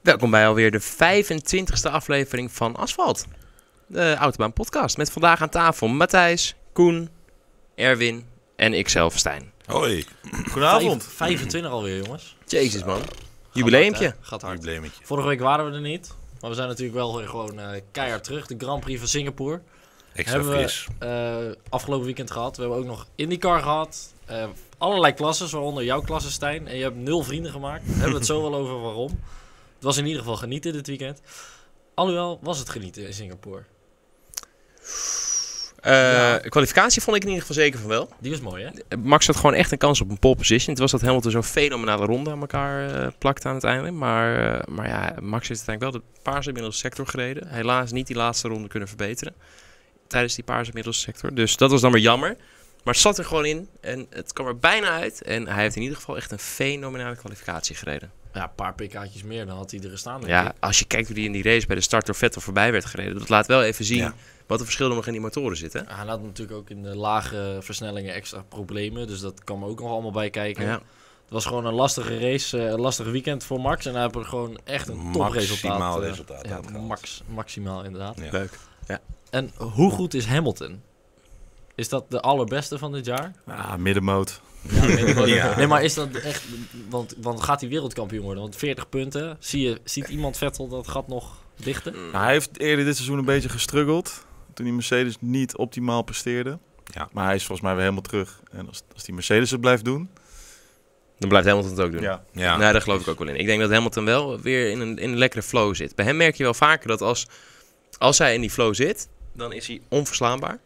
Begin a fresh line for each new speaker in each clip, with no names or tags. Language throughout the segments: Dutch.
Welkom bij alweer de 25e aflevering van Asfalt. De Autobaan podcast. Met vandaag aan tafel Matthijs, Koen, Erwin en ikzelf, Stijn.
Hoi,
Vijf-
goedenavond.
25 alweer, jongens.
Jezus man. Jubileumpje.
Gaat hard, hè? Gaat hard.
Jubileumetje.
Vorige week waren we er niet. Maar we zijn natuurlijk wel weer gewoon eh, keihard terug. De Grand Prix van Singapore.
Extra
hebben
fris.
we eh, afgelopen weekend gehad. We hebben ook nog IndyCar gehad. Eh, allerlei klassen, waaronder jouw klasse Stijn. En je hebt nul vrienden gemaakt. Daar hebben we het zo wel over waarom. Het was in ieder geval genieten dit weekend. Alhoewel was het genieten in Singapore.
Eh, Kwalificatie vond ik in ieder geval zeker van wel.
Die was mooi, hè?
Max had gewoon echt een kans op een pole position. Het was dat Hamilton zo'n fenomenale ronde aan elkaar eh, plakte aan het einde. Maar, eh, maar ja, Max heeft uiteindelijk wel de paarse inmiddels sector gereden. Helaas niet die laatste ronde kunnen verbeteren tijdens die paarse inmiddels sector. Dus dat was dan weer jammer. Maar het zat er gewoon in en het kwam er bijna uit. En hij heeft in ieder geval echt een fenomenale kwalificatie gereden.
Ja, een paar pk'tjes meer dan had hij er gestaan. denk
Ja,
ik.
als je kijkt hoe die in die race bij de start door Vettel voorbij werd gereden. Dat laat wel even zien
Ja.
wat de verschillen nog in die motoren zitten.
Hij had natuurlijk ook in de lage versnellingen extra problemen. Dus dat kwam ook nog allemaal bij kijken.
Ja.
Het was gewoon een lastige race, eh, een lastig weekend voor Max. En hij heeft er gewoon echt een topresultaat.
Maximaal
eh,
resultaat
ja,
uitgehaald.
max, maximaal inderdaad.
Ja.
Leuk.
En hoe goed is Hamilton? Is dat de allerbeste van dit jaar?
Ah, middenmoot.
Ja, weet ik wel.
Ja.
Nee, maar is dat echt... Want, want gaat hij wereldkampioen worden? Want 40 punten, zie je, ziet iemand Vettel dat gat nog dichten?
Hm.
Nou, hij heeft eerder dit seizoen een beetje gestruggeld. Toen die Mercedes niet optimaal presteerde.
Ja.
Maar hij is volgens mij weer helemaal terug. En als, als die Mercedes het blijft doen.
Dan blijft Hamilton het ook doen.
Ja.
Ja.
nou, daar geloof ik ook wel in. Ik denk dat Hamilton wel weer in een, in een lekkere flow zit. Bij hem merk je wel vaker dat als, als hij in die flow zit, dan is hij onverslaanbaar.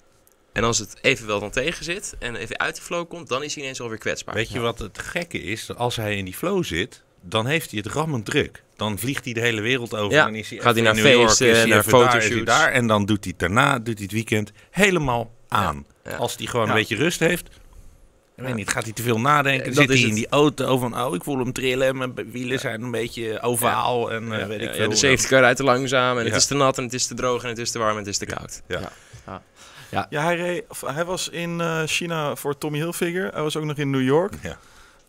En als het even wel dan tegen zit en even uit die flow komt, dan is hij ineens alweer kwetsbaar.
Weet je wat het gekke is? Als hij in die flow zit, dan heeft hij het rammend druk. Dan vliegt hij de hele wereld over.
Ja.
En is hij
Gaat
even
hij
in
naar
New York,
feesten,
is hij
naar
even daar, is hij
fotoshoots.
Daar, en dan doet hij het daarna, doet hij het weekend helemaal aan.
Ja.
Als hij gewoon
Ja.
een beetje rust heeft. Ik weet niet, gaat hij te veel nadenken?
Ja,
Dan
dat
zit hij
is
in
het.
die auto van, oh, ik voel hem trillen. en Mijn wielen zijn een beetje ovaal en eh,
Ja,
weet
ja,
ik
ja,
veel.
de safety car rijdt te langzaam en het
Ja.
is te nat en het is te droog en het is te warm en het is te koud.
Ja, hij, reed- of hij was in eh, China voor Tommy Hilfiger. Hij was ook nog in New York.
Ja.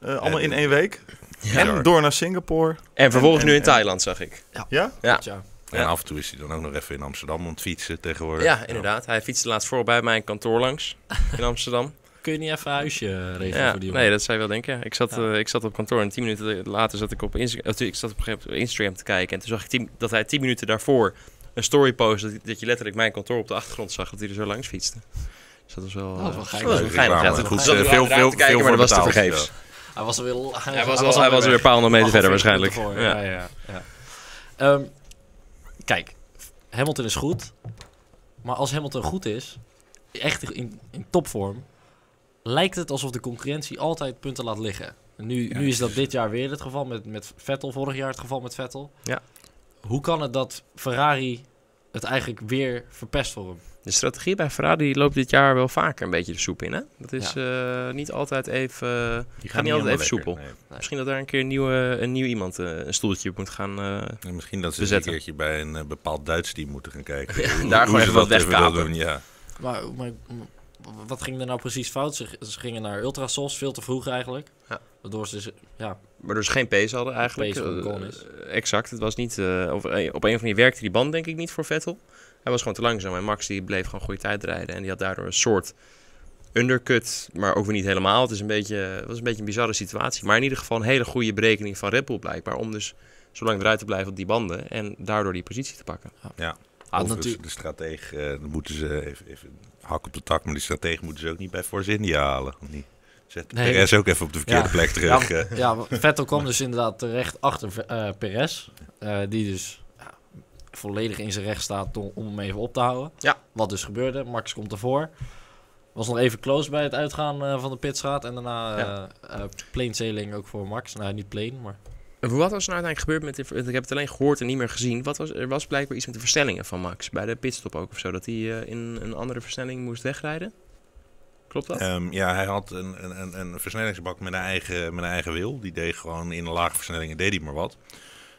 Eh, allemaal
Ja,
in één week. En
Bizar.
door naar Singapore.
En vervolgens
En-
nu
en-
in Thailand, zag ik.
Ja?
Ja.
Tja.
Ja.
En af en toe is hij dan ook nog even in Amsterdam om het fietsen tegenwoordig.
Ja, inderdaad. Hij fietste laatst voor bij mijn kantoor langs in Amsterdam.
Kun je niet even een huisje regelen
Ja,
voor die
nee, dat zou je wel denken. Ik zat,
Ja.
eh, ik zat op kantoor en tien minuten later zat ik op, Insta- of, ik zat op, een gegeven moment op Instagram te kijken. En toen zag ik tien- dat hij tien minuten daarvoor een story postte. Dat, dat je letterlijk mijn kantoor op de achtergrond zag. Dat hij er zo langs fietste. Dus dat was wel,
Dat was wel
eh, dat
geinig.
was
Leuke
geinig,
reclame.
ja.
Goed,
Ik zat
eh,
er
veel-
wel naar
veel-
te kijken,
veel
maar dat
voor
was te
betaald,
vergeefs.
Hij was er weer, hij,
Hij was,
hij
al, hij was weer een paar honderd meter verder waarschijnlijk.
Voor,
Ja.
ja. Ja, ja, Ehm, kijk, Hamilton is goed. Maar als Hamilton goed is, echt in, in topvorm, lijkt het alsof de concurrentie altijd punten laat liggen. Nu, nu is dat dit jaar weer het geval met, met Vettel, vorig jaar het geval met Vettel.
Ja.
Hoe kan het dat Ferrari het eigenlijk weer verpest voor hem?
De strategie bij Ferrari loopt dit jaar wel vaker een beetje de soep in. Hè? Dat is eh, niet altijd even.
Die
Gaat niet altijd
helemaal
even
lekker,
soepel.
nee.
misschien dat daar een keer een, nieuwe, een nieuw iemand eh, een stoeltje op moet gaan. eh,
En Misschien dat ze
Bezetten.
eens een keertje bij een eh, bepaald Duits team moeten gaan kijken.
Ja,
Hoe-
daar
hoe
gewoon
ze
even wat
dat willen
wegkapen.
doen, Ja.
Maar, maar m- wat ging er nou precies fout? Ze, ze gingen naar Ultrasos, veel te vroeg eigenlijk.
Ja.
Waardoor ze ze- ja,
Waardoor ze dus geen pace hadden eigenlijk.
Pace van de
Eh,
goal is.
eh, exact. Het was niet, eh, of, eh, op een van die werkte die band denk ik niet voor Vettel. Hij was gewoon te langzaam en Max die bleef gewoon goede tijd rijden. En die had daardoor een soort undercut, maar ook weer niet helemaal. Het, is een beetje, het was een beetje een bizarre situatie. Maar in ieder geval een hele goede berekening van Red Bull blijkbaar. Om dus zo lang eruit te blijven op die banden en daardoor die positie te pakken.
had
Overigens,
natuurlijk
de strateeg, eh, dan moeten ze even, even hak op de tak, maar die strateeg moeten ze ook niet bij Force India halen. Want die zet
Nee.
Perez ook even op de verkeerde
Ja.
plek terug. eh.
Ja, maar Vettel kwam dus inderdaad terecht achter eh Perez. eh, die dus ja, volledig in zijn recht staat om, om hem even op te houden.
Ja.
Wat dus gebeurde. Max komt ervoor. Was nog even close bij het uitgaan eh, van de pitstraat. En daarna eh
Ja.
eh, plane sailing ook voor Max. Nou, niet plane, maar...
Wat was er nou uiteindelijk gebeurd met... de- ik heb het alleen gehoord en niet meer gezien. Wat was, er was blijkbaar iets met de versnellingen van Max. Bij de pitstop ook of zo. Dat hij eh, in een andere versnelling moest wegrijden. Klopt dat?
Ehm, ja, hij had een, een, een, een versnellingsbak met een, eigen, met een eigen wil. Die deed gewoon in de lage versnellingen deed hij maar wat.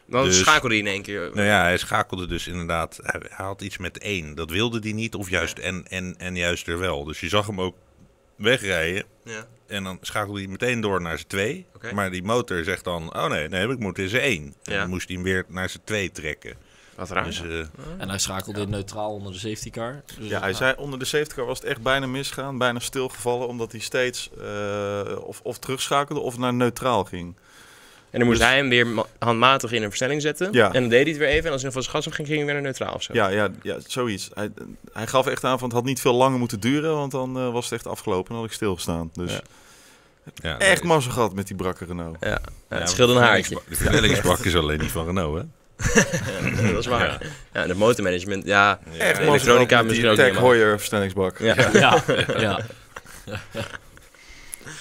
Dan
Dus-
schakelde hij in één keer.
Nou ja, hij schakelde dus inderdaad. Hij, hij had iets met één. Dat wilde hij niet, of juist en, en, en juist er wel. Dus je zag hem ook wegrijden.
Ja.
En dan schakelde hij meteen door naar zijn twee.
Oké.
Maar die motor zegt dan, oh nee, nee ik moet in zijn één. En
Ja.
dan moest hij hem weer naar zijn twee trekken.
Wat raar.
Dus, eh,
En hij schakelde neutraal onder de safety car. Dus
Ja, hij zei onder de 70 was het echt bijna misgaan, bijna stilgevallen, omdat hij steeds eh, of, of terugschakelde of naar neutraal ging.
En dan moest
Dus-
hij hem weer ma- handmatig in een versnelling zetten.
Ja.
En dan deed hij het weer even. En als hij van zijn gas afging, ging hij weer naar neutraal of zo.
Ja, ja, ja zoiets. Hij, hij gaf echt aan van het had niet veel langer moeten duren, want dan eh, was het echt afgelopen en had ik stilgestaan. Dus
Ja.
ja,
echt
nee,
mazzel gehad met die brakke Renault.
dus- Ja,
ja,
het scheelde een
de
haartje.
versnellingsbak- De versnellingsbak is alleen niet van Renault, hè?
Ja, dat is waar. Ja. en de motormanagement, ja.
Echt
de
mazzel gehad
elektronica
met
misschien
die
ook
Tech
niet. maar-
Heuer versnellingsbak.
Ja. Ja.
Ja, ja.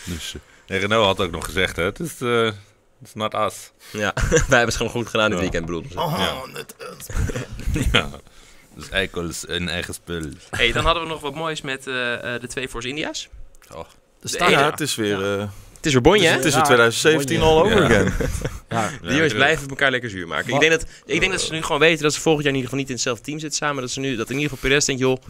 Dus, eh, en Renault had ook nog gezegd, hè, het is eh, it's not us.
wij hebben het gewoon goed gedaan dit
Ja.
weekend, bedoel
Oh.
ik.
Ja. ja. Dus eikels en eigen spul.
Hey, dan hadden we nog wat moois met eh, eh, de twee Force India's.
De
De
staart-
ene-
Ja, het is weer, eh,
Het is weer bonje, hè?
het is weer
Ja.
2017 all over
Ja.
again.
ja.
Die jongens blijven elkaar lekker zuur maken. Ik
Wat-
denk, dat, ik denk dat ze nu gewoon weten dat ze volgend jaar in ieder geval niet in hetzelfde team zitten samen. Dat ze nu, dat in ieder geval Perez denkt, joh,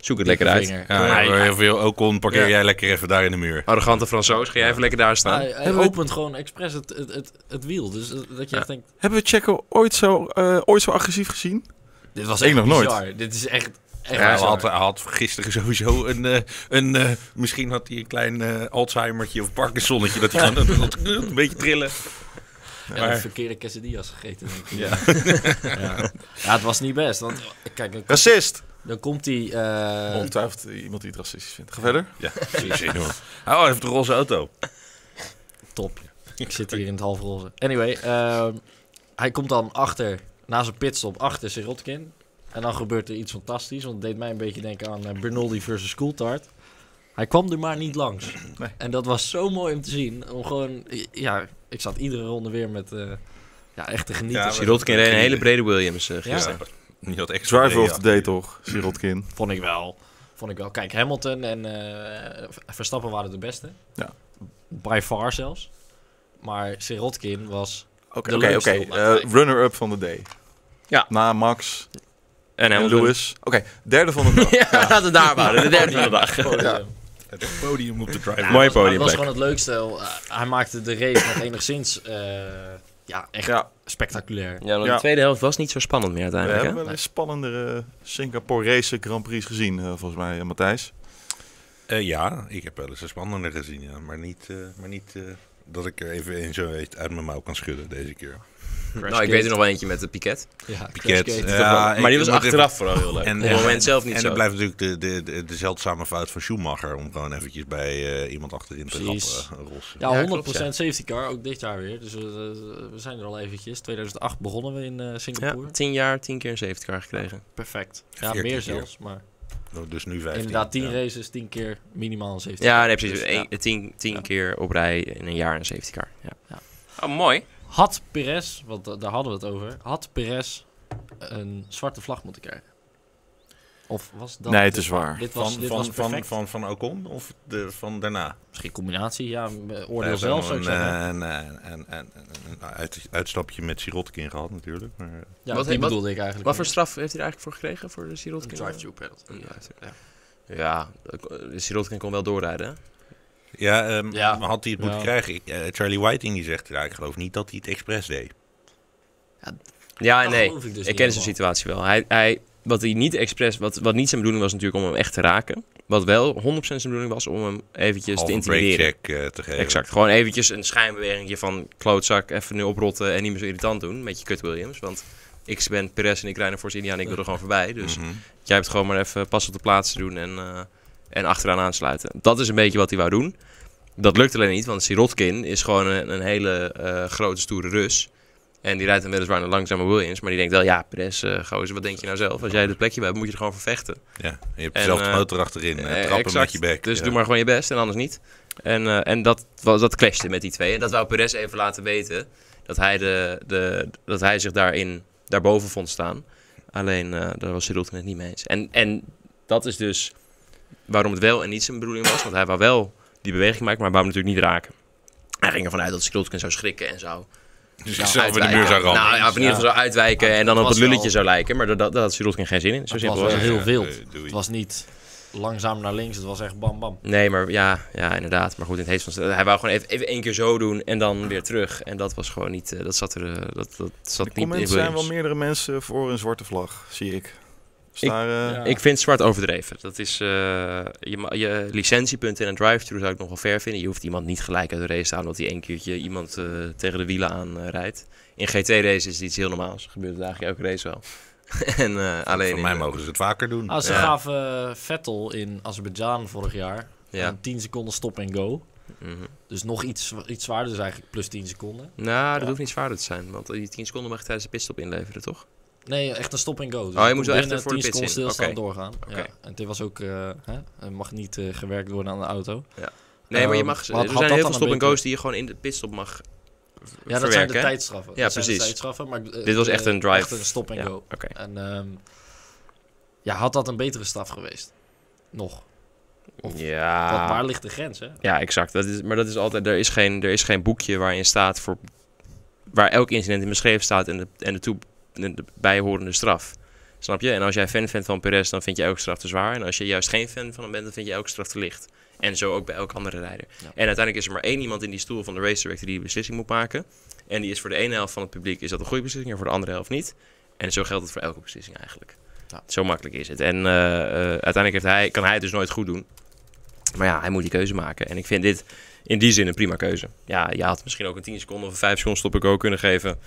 zoek het lekker uit.
Vinger.
Ja,
Ja,
maar
ja.
heel veel Ocon parkeer
Ja.
jij lekker even daar in de muur.
Arrogante Fransoos, ga jij even lekker daar staan.
Hij, hij
Hebben we-
opent gewoon expres het, het, het, het wiel. Dus dat dat je
Ja.
echt denkt,
Hebben we Checo ooit zo, eh, ooit zo agressief gezien?
dit was
Ik
echt
nog nooit.
bizar. Dit is echt, echt
Ja, hij,
bizar.
had, hij had gisteren sowieso een, eh, een eh, misschien had hij een klein eh Alzheimertje of Parkinsonnetje, dat hij gewoon een, een beetje trillen.
En
maar-
een verkeerde quesadillas gegeten. denk ik.
Ja.
ja. Ja, het was niet best. Want kijk, dan,
Racist!
dan komt die... eh,
Ongetwijfeld iemand die het racistisch vindt. Ga verder.
Ja, precies. enorm. Oh, hij heeft een roze auto.
Top. Ik zit hier in het halfroze. Anyway, ehm, hij komt dan achter, na zijn pitstop, achter Sirotkin. En dan gebeurt er iets fantastisch, want het deed mij een beetje denken aan eh, Bernoldi versus Coulthard. Hij kwam er maar niet langs.
Nee.
En dat was zo mooi om te zien. Om gewoon, ja, ik zat iedere ronde weer met, eh, ja, echt te genieten.
Ja,
Sirotkin reed een hele brede Williams eh, gisteren.
Die had echt
Zwaar veel
ja.
op de day toch, Sirotkin.
Vond ik wel. Vond ik wel. Kijk, Hamilton en eh, Verstappen waren de beste.
Ja.
By far zelfs. Maar Sirotkin was...
Oké,
De
oké,
leukste
oké. Eh,
ronde.
Runner-up van de day.
Ja.
Na Max
En
en
Hamilton.
Lewis. Oké, derde van de dag.
Ja, dat we daar waren. De derde van de dag.
podium.
Het podium op de
Ja,
driver.
Mooi
het was- Het was
podiumplek.
gewoon het leukste. Eh, hij maakte de race nog enigszins eh, ja, echt
Ja,
spectaculair.
Ja, want
Ja.
de tweede helft was niet zo spannend meer
we
uiteindelijk.
hebben
Hè?
wel een spannendere Singapore Race Grand Prix gezien, eh, volgens mij, eh, Matthijs.
Eh, ja, ik heb wel eens een spannender gezien, ja. maar niet, eh, maar niet eh, dat ik er even een zo uit mijn mouw kan schudden deze keer.
Nou, ik weet er nog wel eentje met de Piquet.
Ja,
Piquet,
Piquet.
eh, Ja,
maar die
ik
was
moet
achteraf vooral heel leuk.
En-
Op het
en-
moment zelf niet
en
zo.
dat blijft natuurlijk de, de, de, de zeldzame fout van Schumacher om gewoon eventjes bij eh, iemand achterin te
Precies.
rappen. eh, rossen.
ja,
Ja,
100%
klopt, ja.
safety car, ook dit jaar weer. Dus eh, we zijn er al eventjes. 2008 begonnen we in eh,
Ja,
Singapore.
tien jaar, tien keer een 70 car gekregen.
Perfect. Ja,
14
meer
keer.
zelfs. Maar
Oh, Dus nu 15.
inderdaad, 10
ja.
races, 10 keer minimaal een safety
Ja,
car.
nee, precies.
Dus,
Eén-
ja.
Tien, tien
Ja.
keer op rij in een jaar een 70 car. Ja.
Ja.
Oh, mooi.
Had Perez, want da- daar hadden we het over, had Perez een zwarte vlag moeten krijgen? Of was dat...
nee, het is waar.
Dit was,
Van,
dit
van,
was
van,
perfect.
van, van Ocon of de, van daarna?
Misschien combinatie, ja. eh,
Hij
Oordeel
heeft
zelf,
ook
zou ik
nog
zeggen.
een, eh, een, een, een, een- een nou, uit- uitstapje met Sirotkin gehad natuurlijk. Maar, eh,
Ja,
Wat-
die
wat-
bedoelde ik eigenlijk.
Wat voor straf heeft hij er eigenlijk voor gekregen voor de
Een
Sirotkin?
drive-through penalty.
Een drive-through, Ja, de Sirotkin kon wel doorrijden. hè?
ja, ehm,
Ja.
maar had hij het moeten
Ja.
krijgen? Ik, eh, Charlie Whiting die zegt, ja, ik geloof niet dat hij het expres deed.
Ja, en
Dat
Ah, nee.
geloof ik dus
ik ken zijn
niet helemaal.
situatie wel. Hij, hij, wat, hij niet expres, wat, wat niet zijn bedoeling was natuurlijk om hem echt te raken. Wat wel 100% zijn bedoeling was om hem eventjes
Half
te
een
intimideren.
breakcheck eh, te geven.
Exact. Gewoon eventjes een schijnbeweging van klootzak, even nu oprotten en niet meer zo irritant doen met je kut Williams. Want ik ben Perez en ik rijd naar Force India en ik wil er gewoon voorbij. Dus
Mhm.
jij hebt gewoon maar even pas op de plaats te doen en, eh, en achteraan aansluiten. Dat is een beetje wat hij wou doen. Dat lukt alleen niet, want Sirotkin is gewoon een, een hele eh, grote, stoere Rus. En die rijdt dan weliswaar een langzame Williams. Maar die denkt wel, ja, Perez, eh gozer, wat denk je nou zelf? Als jij dit plekje bij hebt, moet je er gewoon voor vechten.
Ja, je hebt
En,
zelf de
eh,
motor achterin. eh,
Eh,
trappen
exact.
met je bek.
Dus
ja.
doe maar gewoon je best en anders niet. En, eh, en dat, was, dat clashte met die twee. En dat wou Perez even laten weten. Dat hij, de, de, dat hij zich daarin, daarboven vond staan. Alleen eh, daar was Sirotkin het niet mee eens. En, en dat is dus waarom het wel en niet zijn bedoeling was. Want hij wou wel die beweging maken, maar wou hem natuurlijk niet raken. Hij ging ervan uit dat Sirotkin zou schrikken en zou
Dus
Nou,
zelf in de
uitwijken.
muur zou rammen.
Nou ja, of in ieder geval zou uitwijken
Ja,
en dan
het
op het
was
lulletje
wel-
zou lijken. Maar dat, dat, daar had Sirotkin geen zin in. Zo
Het
simpel
was
was
wel
het.
heel
Ja,
wild.
eh, doei.
Het was niet... langzaam naar links. Het was echt bam bam.
Nee, maar ja, ja, inderdaad. Maar goed, in het heet van hij wou gewoon even, even één keer zo doen en dan weer terug. En dat was gewoon niet, eh, dat zat er, eh, dat, dat zat
De
niet in
comments zijn wel
Williams.
meerdere mensen voor een zwarte vlag, zie ik. Dus
Ik-
daar, eh,
Ja.
Ik vind zwart overdreven. Dat is eh, je, ma- je licentiepunten in een drive-thru zou ik nog wel ver vinden. Je hoeft iemand niet gelijk uit de race te halen omdat hij één keertje iemand eh, tegen de wielen aan eh, rijdt. In GT-races is het iets heel normaals. Dat gebeurt het eigenlijk elke race wel. en eh, alleen.
Van
in-
mij mogen ze het vaker doen.
Ah, ze
Ja.
gaven eh, Vettel in Azerbeidzjan vorig jaar.
Ja.
een 10 seconden stop en go.
Mhm.
Dus nog iets, iets zwaarder, dus eigenlijk plus 10 seconden.
Nou, dat
Ja.
hoeft niet zwaarder te zijn, want die 10 seconden mag je tijdens de pitstop inleveren, toch?
Nee, echt een stop en go. Dus
Oh, je moet
je komt
wel echt
binnen
voor de
10
pits
seconden
in.
stilstaan
Oké.
doorgaan. Ja.
Oké.
En dit was ook, eh, hè, er mag niet eh, gewerkt worden aan de auto.
Nee, maar je
Ehm,
mag.
had-
er zijn
had dat
heel
dan
veel stop
een
en
betere-
go's die je gewoon in de pitstop mag.
Ja, dat zijn de
verwerken, hè?
tijdstraffen.
Ja,
Dat zijn de
precies.
tijdstraffen, maar, eh,
Dit was
eh,
echt een drive.
Echt een stop en
Ja,
go.
Oké.
En ehm, ja, had dat een betere straf geweest? Nog. Of
Ja.
Wat, waar ligt de grens, hè?
Ja, exact. Dat is, maar dat is altijd, er is geen, er is geen boekje waarin staat voor waar elk incident in beschreven staat en de, en de, toe, en de bijhorende straf. Snap je? En als jij fan bent van Perez, dan vind je elke straf te zwaar. En als je juist geen fan van hem bent, dan vind je elke straf te licht. En zo ook bij elke andere rijder.
Ja.
En uiteindelijk is er maar één iemand in die stoel van de race director die die beslissing moet maken. En die is voor de ene helft van het publiek is dat een goede beslissing en voor de andere helft niet. En zo geldt het voor elke beslissing eigenlijk.
Ja.
Zo makkelijk is het. En eh, eh, uiteindelijk heeft hij, kan hij het dus nooit goed doen. Maar ja, hij moet die keuze maken. En ik vind dit in die zin een prima keuze. Ja, je had misschien ook een 10 seconden of een 5 seconden stop ik ook kunnen geven.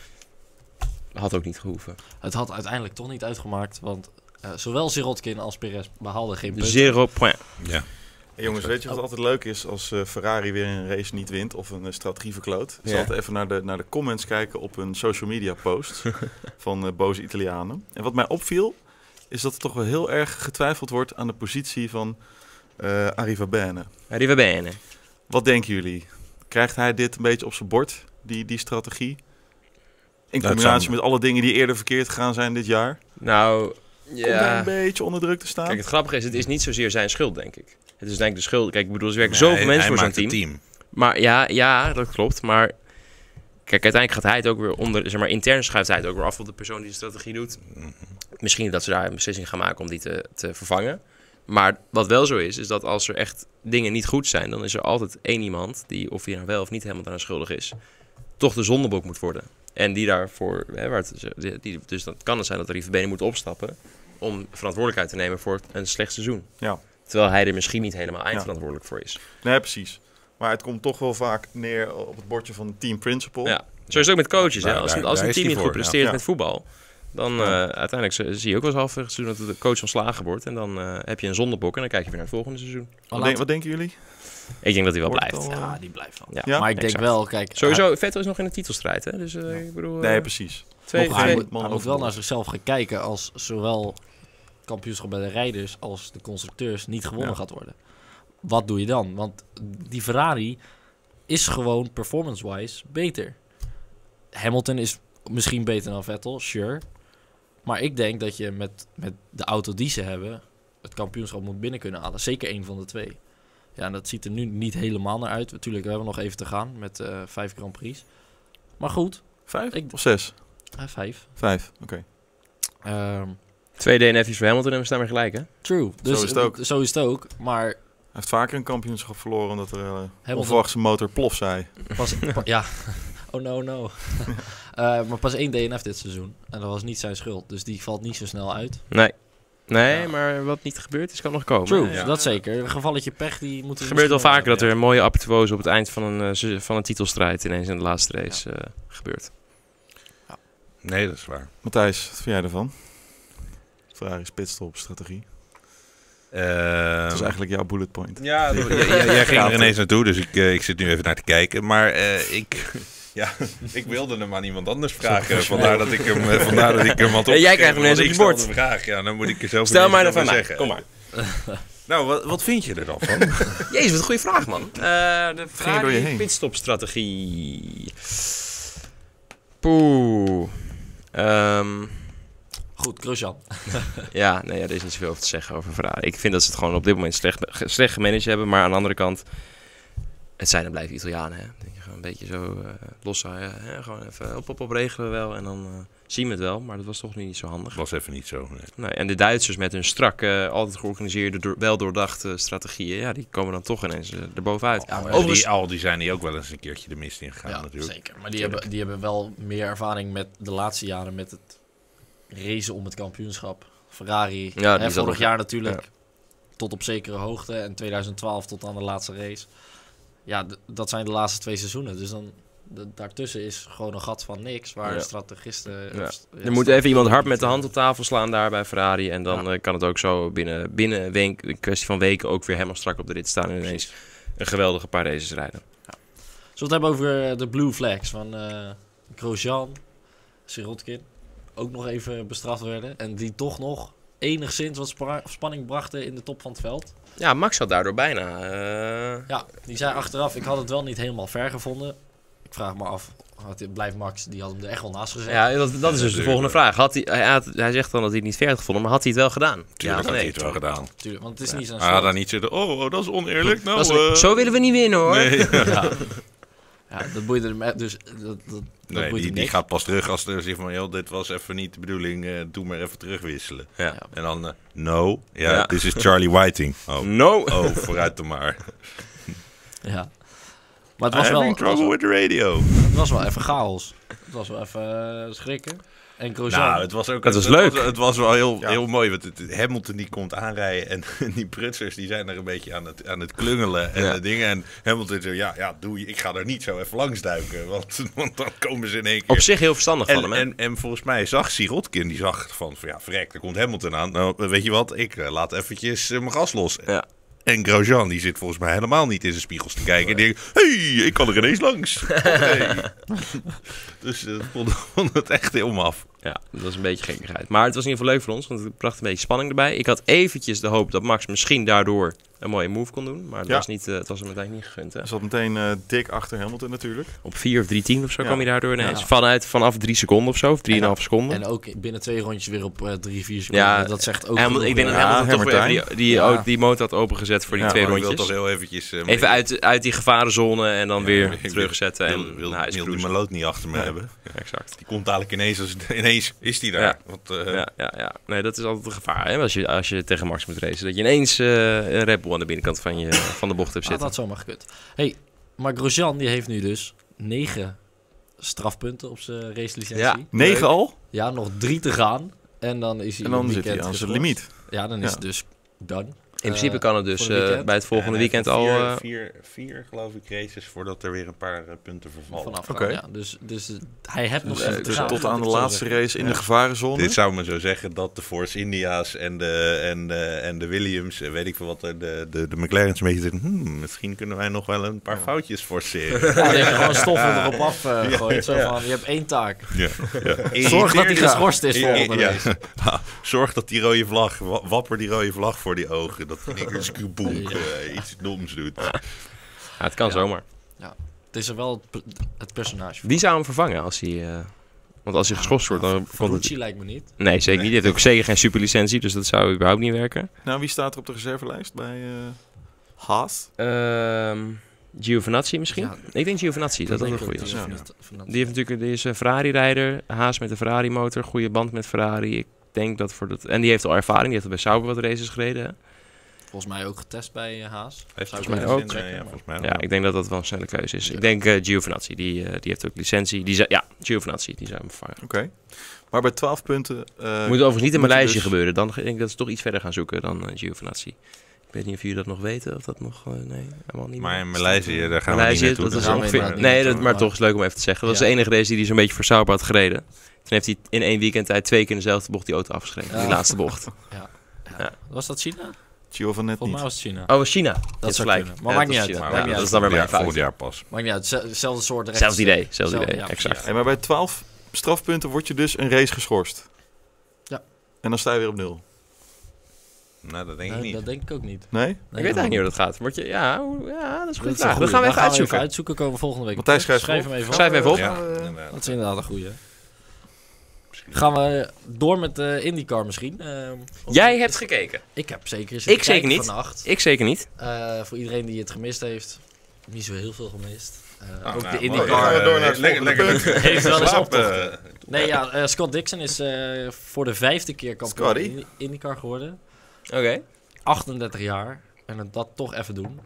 Had ook niet gehoeven.
Het had uiteindelijk toch niet uitgemaakt, want eh, zowel Sirotkin als Perez behaalden geen punten.
Zero point.
Ja.
Hey, jongens, weet je
Oh.
wat altijd leuk is als eh, Ferrari weer een race niet wint of een eh, strategie verkloot? Is
Ja.
altijd even naar de, naar de comments kijken op hun social media post van eh, boze Italianen. En wat mij opviel, is dat er toch wel heel erg getwijfeld wordt aan de positie van eh Arriva Bene.
Arriva bene.
Wat denken jullie? Krijgt hij dit een beetje op zijn bord, die, die strategie? In
Dat
combinatie
zou-
met alle dingen die eerder verkeerd gegaan zijn dit jaar.
Nou,
Komt hij een
ja.
beetje onder druk te staan?
Kijk, het grappige is, het is niet zozeer zijn schuld, denk ik. Het is denk ik de schuld. Kijk, ik bedoel, er werken
Nee,
zoveel mensen
hij
voor zo'n
maakt
team.
het
Maar ja, ja, dat klopt. Maar kijk, uiteindelijk gaat hij het ook weer onder, zeg maar, intern schuift hij het ook weer af op de persoon die de strategie doet. Misschien dat ze daar een beslissing gaan maken om die te, te vervangen. Maar wat wel zo is, is dat als er echt dingen niet goed zijn, dan is er altijd één iemand die, of hij nou wel of niet helemaal daaraan schuldig is, toch de zondebok moet worden. En die daarvoor, hè, waar het, die- die, dus dan kan het zijn dat de Benen moet opstappen om verantwoordelijkheid te nemen voor een slecht seizoen.
Ja.
Terwijl hij er misschien niet helemaal eindverantwoordelijk voor is.
Nee, precies. Maar het komt toch wel vaak neer op het bordje van team principal.
Ja. Zo is het ook met coaches.
Daar-
hè? Als, een-
daar-
als
daar
een
is
team
die
niet goed
voor,
presteert
ja.
met voetbal, dan eh, uiteindelijk z- zie je ook wel eens halverwege het seizoen dat de coach ontslagen wordt. En dan eh, heb je een zondebok en dan kijk je weer naar het volgende seizoen.
Maar
Wat, denk-
laten-
wat denken jullie?
Ik denk dat hij wel
Wordt
blijft.
het al, eh,
Ja, die blijft wel.
Ja,
Ja?
maar ik denk
exact.
wel, kijk...
Sowieso, Vettel is nog in de titelstrijd, hè? Dus eh, ik bedoel... eh,
Nee, precies.
twee,
Nog,
geen
hij
twee-
moet,
man
hij moet wel
overboord.
naar zichzelf gaan kijken als zowel kampioenschap bij de rijders als de constructeurs niet gewonnen
Ja.
gaat worden. Wat doe je dan? Want die Ferrari is gewoon performance-wise beter. Hamilton is misschien beter dan Vettel, sure. Maar ik denk dat je met, met de auto die ze hebben het kampioenschap moet binnen kunnen halen. Zeker één van de twee. Ja, en dat ziet er nu niet helemaal naar uit. Natuurlijk, we hebben nog even te gaan met eh, vijf Grand Prix. Maar goed,
Vijf?
Ik-
Of zes?
eh, vijf.
Vijf, oké.
Ehm,
twee DNF's voor Hamilton en we staan weer gelijk, hè?
True. Dus
is het ook.
Zo is het ook. Maar
Hij heeft vaker een kampioenschap verloren omdat er eh,
Hamilton-
onverwachts een motor plof zei.
pas... pa- ja. Oh no, no. Eh, maar pas één DNF dit seizoen. En dat was niet zijn schuld. Dus die valt niet zo snel uit.
Nee. Nee,
Ja.
maar wat niet gebeurd is, kan nog komen.
True,
hè?
ja.
dat zeker. Een gevalletje pech, die moet
Het gebeurt wel vaker dat er een mooie apotheose op het eind van een, eh, se- van een titelstrijd ineens in de laatste race eh, gebeurt.
Nee, dat is waar.
Matthijs, wat vind jij ervan? Ferrari's pitstop strategie. Dat
Ehm,
is eigenlijk jouw bullet point.
Ja, dat- jij- jij- jij ging er ineens naartoe, dus ik, eh, ik zit nu even naar te kijken. Maar eh, ik, ja, ik wilde hem aan iemand anders vragen. Vandaar dat ik hem, eh, vandaar dat ik hem had
En jij krijgt hem
opgeschreven,
ineens op
want ik
je
stelde
bord.
een vraag, ja, dan moet ik er zelf
Stel
ineens
mij
wat
dan van
over
mij.
zeggen.
Kom maar.
Nou, wat, wat vind je er dan van?
Jezus, wat een goede vraag, man. Eh de
ging er door je
Ferrari
heen?
pitstopstrategie. Poeh. Ehm,
Goed, Grosjean.
ja, nee, ja, er is niet zoveel over te zeggen over Ferrari. Ik vind dat ze het gewoon op dit moment slecht, ge- slecht gemanaged hebben. Maar aan de andere kant, het zijn en blijven Italianen. Hè? Denk je gewoon. Gewoon een beetje zo eh los. hè, gewoon even op, op, op regelen we wel. En dan eh, zien we het wel. Maar dat was toch nu niet zo handig.
was even niet zo. nee.
Nee, en de Duitsers met hun strak, eh, altijd georganiseerde, door, wel doordachte strategieën. Ja, die komen dan toch ineens eh,
Oh,
erbovenuit.
Ja, maar
Al
Overigens,
die, al die zijn die ook wel eens een keertje de mist ingegaan natuurlijk.
zeker. Maar die hebben, die hebben wel meer ervaring met de laatste jaren met het racen om het kampioenschap. Ferrari,
Ja, die
hè,
zat
vorig
op-
jaar natuurlijk tot op zekere hoogte en 2012 tot aan de laatste race. Ja, d- dat zijn de laatste twee seizoenen. Dus dan d- daartussen is gewoon een gat van niks waar
Ja.
strategisten... eh,
Ja.
of st- ja,
er moet even iemand hard
niet,
met de
eh,
hand op tafel slaan daar bij Ferrari. En dan
Ja.
eh, kan het ook zo binnen, binnen een, week, een kwestie van weken ook weer helemaal strak op de rit staan. En ineens een geweldige paar races rijden.
Zullen we het hebben over eh, de blue flags van eh Grosjean, Sirotkin. Ook nog even bestraft werden. En die toch nog enigszins wat spra- spanning brachten in de top van het veld.
Ja, Max had daardoor bijna... eh,
Ja, die zei achteraf, ik had het wel niet helemaal ver gevonden. Ik vraag me af, had dit- blijft Max, die had hem er echt wel naast gezet.
Ja, dat, dat is dus de
natuurlijk.
volgende vraag. Had hij, hij, had- hij zegt dan dat hij het niet ver had gevonden, maar had hij het wel gedaan?
Tuurlijk
ja,
had
nee.
hij het wel gedaan.
Tuurlijk, want het is niet zo'n
Maar hij had
soort-
dan niet zo... Oh, oh, dat is oneerlijk. Nou,
Dat is-
eh,
zo willen we niet winnen hoor.
Nee,
Ja. ja, dat boeide hem echt, dus dat, dat, dat
Nee, die,
boeit hem
die
niks.
gaat pas terug als er zegt van... joh, dit was even niet de bedoeling. eh, doe maar even terugwisselen.
Ja.
En dan... eh, no. Ja,
Ja.
this is Charlie Whiting. Oh,
No.
oh vooruit dan maar.
Ja. Maar het was,
I'm
wel,
having
het,
trouble
was wel,
with the radio.
het was wel even chaos. Het was wel even eh, schrikken. En Grosjean...
Nou, het was ook...
Het was leuk.
het was wel heel,
Ja.
heel mooi. Want het- het- Hamilton die komt aanrijden. En die prutsers die zijn er een beetje aan het, aan het klungelen. En
Ja.
de dingen. En Hamilton zegt... Ja, ja, doe je. Ik ga er niet zo even langs duiken. Want, want dan komen ze in één keer...
Op zich heel verstandig van hem.
En,
hè?
en, en volgens mij zag Sirotkin, die zag van, van ja, vrek, er komt Hamilton aan. Nou, weet je wat, ik eh, laat eventjes eh, mijn gas los.
Ja.
En Grosjean, die zit volgens mij helemaal niet in zijn spiegels te kijken. En die denkt, hey, ik kan er ineens langs. Hey. dus eh, ik vond, vond het echt helemaal af.
ja, dat was een beetje gekkigheid. Maar het was in ieder geval leuk voor ons, want het bracht een beetje spanning erbij. Ik had eventjes de hoop dat Max misschien daardoor een mooie move kon doen. Maar het,
Ja.
was, niet, eh, het was hem uiteindelijk niet gegund. Hè?
Er zat meteen eh, dik achter Hamilton natuurlijk.
Op 4 of 3 tien of zo
Ja.
kwam hij daardoor ineens.
Ja.
Vanuit, vanaf 3 seconden of zo, of 3,5 seconden.
En ook binnen twee rondjes weer op eh, drie, vier seconden.
Ja,
dat zegt ook
Hamilton-
genoeg,
ik denk
ja.
dat Hamilton
Ja,
toch weer
Hammertime.
even die, die,
Ja.
ook die motor had opengezet voor die
Ja,
twee
maar ik wil
rondjes.
toch heel eventjes... eh,
Even uit, uit die gevarenzone en dan
Ja,
weer
ik wil-
terugzetten.
Wil,
en
wil,
nou, hij is
wil die
cruise.
Maloot niet achter me
Nee.
hebben.
Exact.
Die komt dadelijk ineens, als, ineens is die daar.
Ja.
Want, eh,
Ja, ja, ja. Nee, dat is altijd een gevaar. Hè? Als, je, als je tegen Max moet racen. Dat je ineens eh, een Red Bull aan de binnenkant van, je, van de bocht hebt
Had
zitten.
Ah, dat zomaar gekund. hey, maar Grosjean die heeft nu dus negen strafpunten op zijn racelicentie.
Ja.
Ja.
Negen al
ja, nog drie te gaan. En dan is hij
en
een
dan zit
weekend
hij aan zijn
geschorst.
limiet.
Ja, dan is
Ja.
het dus done.
In principe
Eh,
kan het dus
voor het
eh,
weekend.
bij het volgende
Ja, en hij
weekend al...
heeft
eh,
Vier, vier, vier, geloof ik, races voordat er weer een paar eh, punten vervallen.
Vanaf
Oké.
ja. Dus, dus eh, hij heeft nog
Dus,
even
eh,
te gaan.
tot
laat
aan de
ik het zo
laatste
zeggen.
race in de
Ja.
gevarenzone.
Dit zou me zo zeggen dat de Force India's en de, en de, en de Williams, eh, weet ik veel wat, de, de, de, de McLaren's een beetje denken, hmm, misschien kunnen wij nog wel een paar foutjes forceren.
Ja, die heeft er gewoon stoffen erop afgegooid. eh, zo
ja.
van, je hebt één taak.
ja, ja.
Zorg dat hij
Irriteer-
geschorst is
Ja,
volgende
ja.
race.
Ja, Zorg dat die rode vlag, wa- wapper die rode vlag voor die ogen, dat die niks boek eh, iets doms doet.
ja, ah, het kan
Ja.
zomaar.
Het is er wel het, pe- het personage.
Wie zou hem vervangen als hij... eh, want als hij geschorst wordt, dan komt het...
Ferrucci lijkt me niet.
Nee, zeker niet. Hij heeft ook zeker geen superlicentie, dus dat zou überhaupt niet werken.
Nou, wie staat er op de reservelijst bij eh Haas?
Ehm Giovinazzi misschien?
Ja.
Ik denk Giovinazzi, dat dat een goede is.
ja.
Die, heeft natuurlijk, die is een Ferrari-rijder, haas met de Ferrari-motor, goede band met Ferrari. Ik denk dat voor dat... En die heeft al ervaring, die heeft al bij Sauber wat races gereden. hè?
Volgens mij ook getest bij eh, Haas.
volgens mij ook.
eh,
Ja, volgens mij ook.
Ja, ik denk dat dat wel een snelle keuze is. Ik denk eh Giovinazzi, die, eh, die heeft ook licentie. Die zou- ja, Giovinazzi, die zou hem vervangen.
Oké. Maar bij 12 punten. eh,
moet overigens niet in
moet je
Maleisië
dus-
gebeuren. Dan denk ik dat ze toch iets verder gaan zoeken dan eh, Giovinazzi. Ik weet niet of jullie dat nog weten, of dat nog... eh, nee, helemaal niet
Maar
meer.
in Maleisië, eh, daar gaan
Maleisië,
we niet naartoe. dus
dat is
Daar gaan we
ongeveer...
inderdaad
Nee, dat,
niet naartoe,
maar
maar-
toch is leuk om even te zeggen. Dat is
Ja.
de enige race die hij zo'n beetje voor Sauber had gereden. Toen heeft hij in één weekend uit twee keer in dezelfde bocht die auto afgeschreven. Die
Ja.
laatste bocht.
Was dat China?
Giovanet
Volgens mij
niet.
was het China.
Oh, was China.
Dat
is
zou
gelijk.
kunnen. Maar
Ja,
maakt
dat is
niet uit.
China.
Maakt
Ja,
niet
dat is
uit.
dan weer
Volgend
mijn
jaar-
fout.
volgend jaar pas.
Maakt niet uit. Zel- Hetzelfde soort rechts.
Zelfs idee, zelfs
Zelfde-
idee,
ja,
exact.
Hey, maar bij 12 strafpunten word je dus een race geschorst.
Ja.
En dan sta je weer op nul.
Nou, dat denk ik
Nee,
niet.
dat denk ik ook niet.
Nee?
Ik weet eigenlijk niet hoe dat gaat. Word je, ja, hoe- ja, dat is een
Dat
goede
is
vraag.
een
Dat gaan
goeie.
we
Dan
even uitzoeken.
uitzoeken. Komen we volgende week.
Matthijs, schrijf
hem even op.
Schrijf hem even op.
Ja,
eh,
inderdaad.
Dat is inderdaad een goeie.
Misschien.
Gaan we door met eh IndyCar misschien? Ehm, of-
Jij hebt gekeken.
Ik heb zeker eens
Ik zeker niet.
vannacht.
Ik zeker niet.
Eh, voor iedereen die het gemist heeft. Niet zo heel veel gemist. eh,
Ah,
Nou,
ook
nou,
de
mooi. Dan
IndyCar.
gaan we door naar het
eh,
lekker,
volgende
lekker, lekker.
Heeft wel eens
Slaap,
optochten.
eh,
Nee, ja, eh, Scott Dixon is eh, voor de vijfde keer kampioen
Scotty.
in de IndyCar geworden.
Oké.
38 jaar. En het dat toch even doen.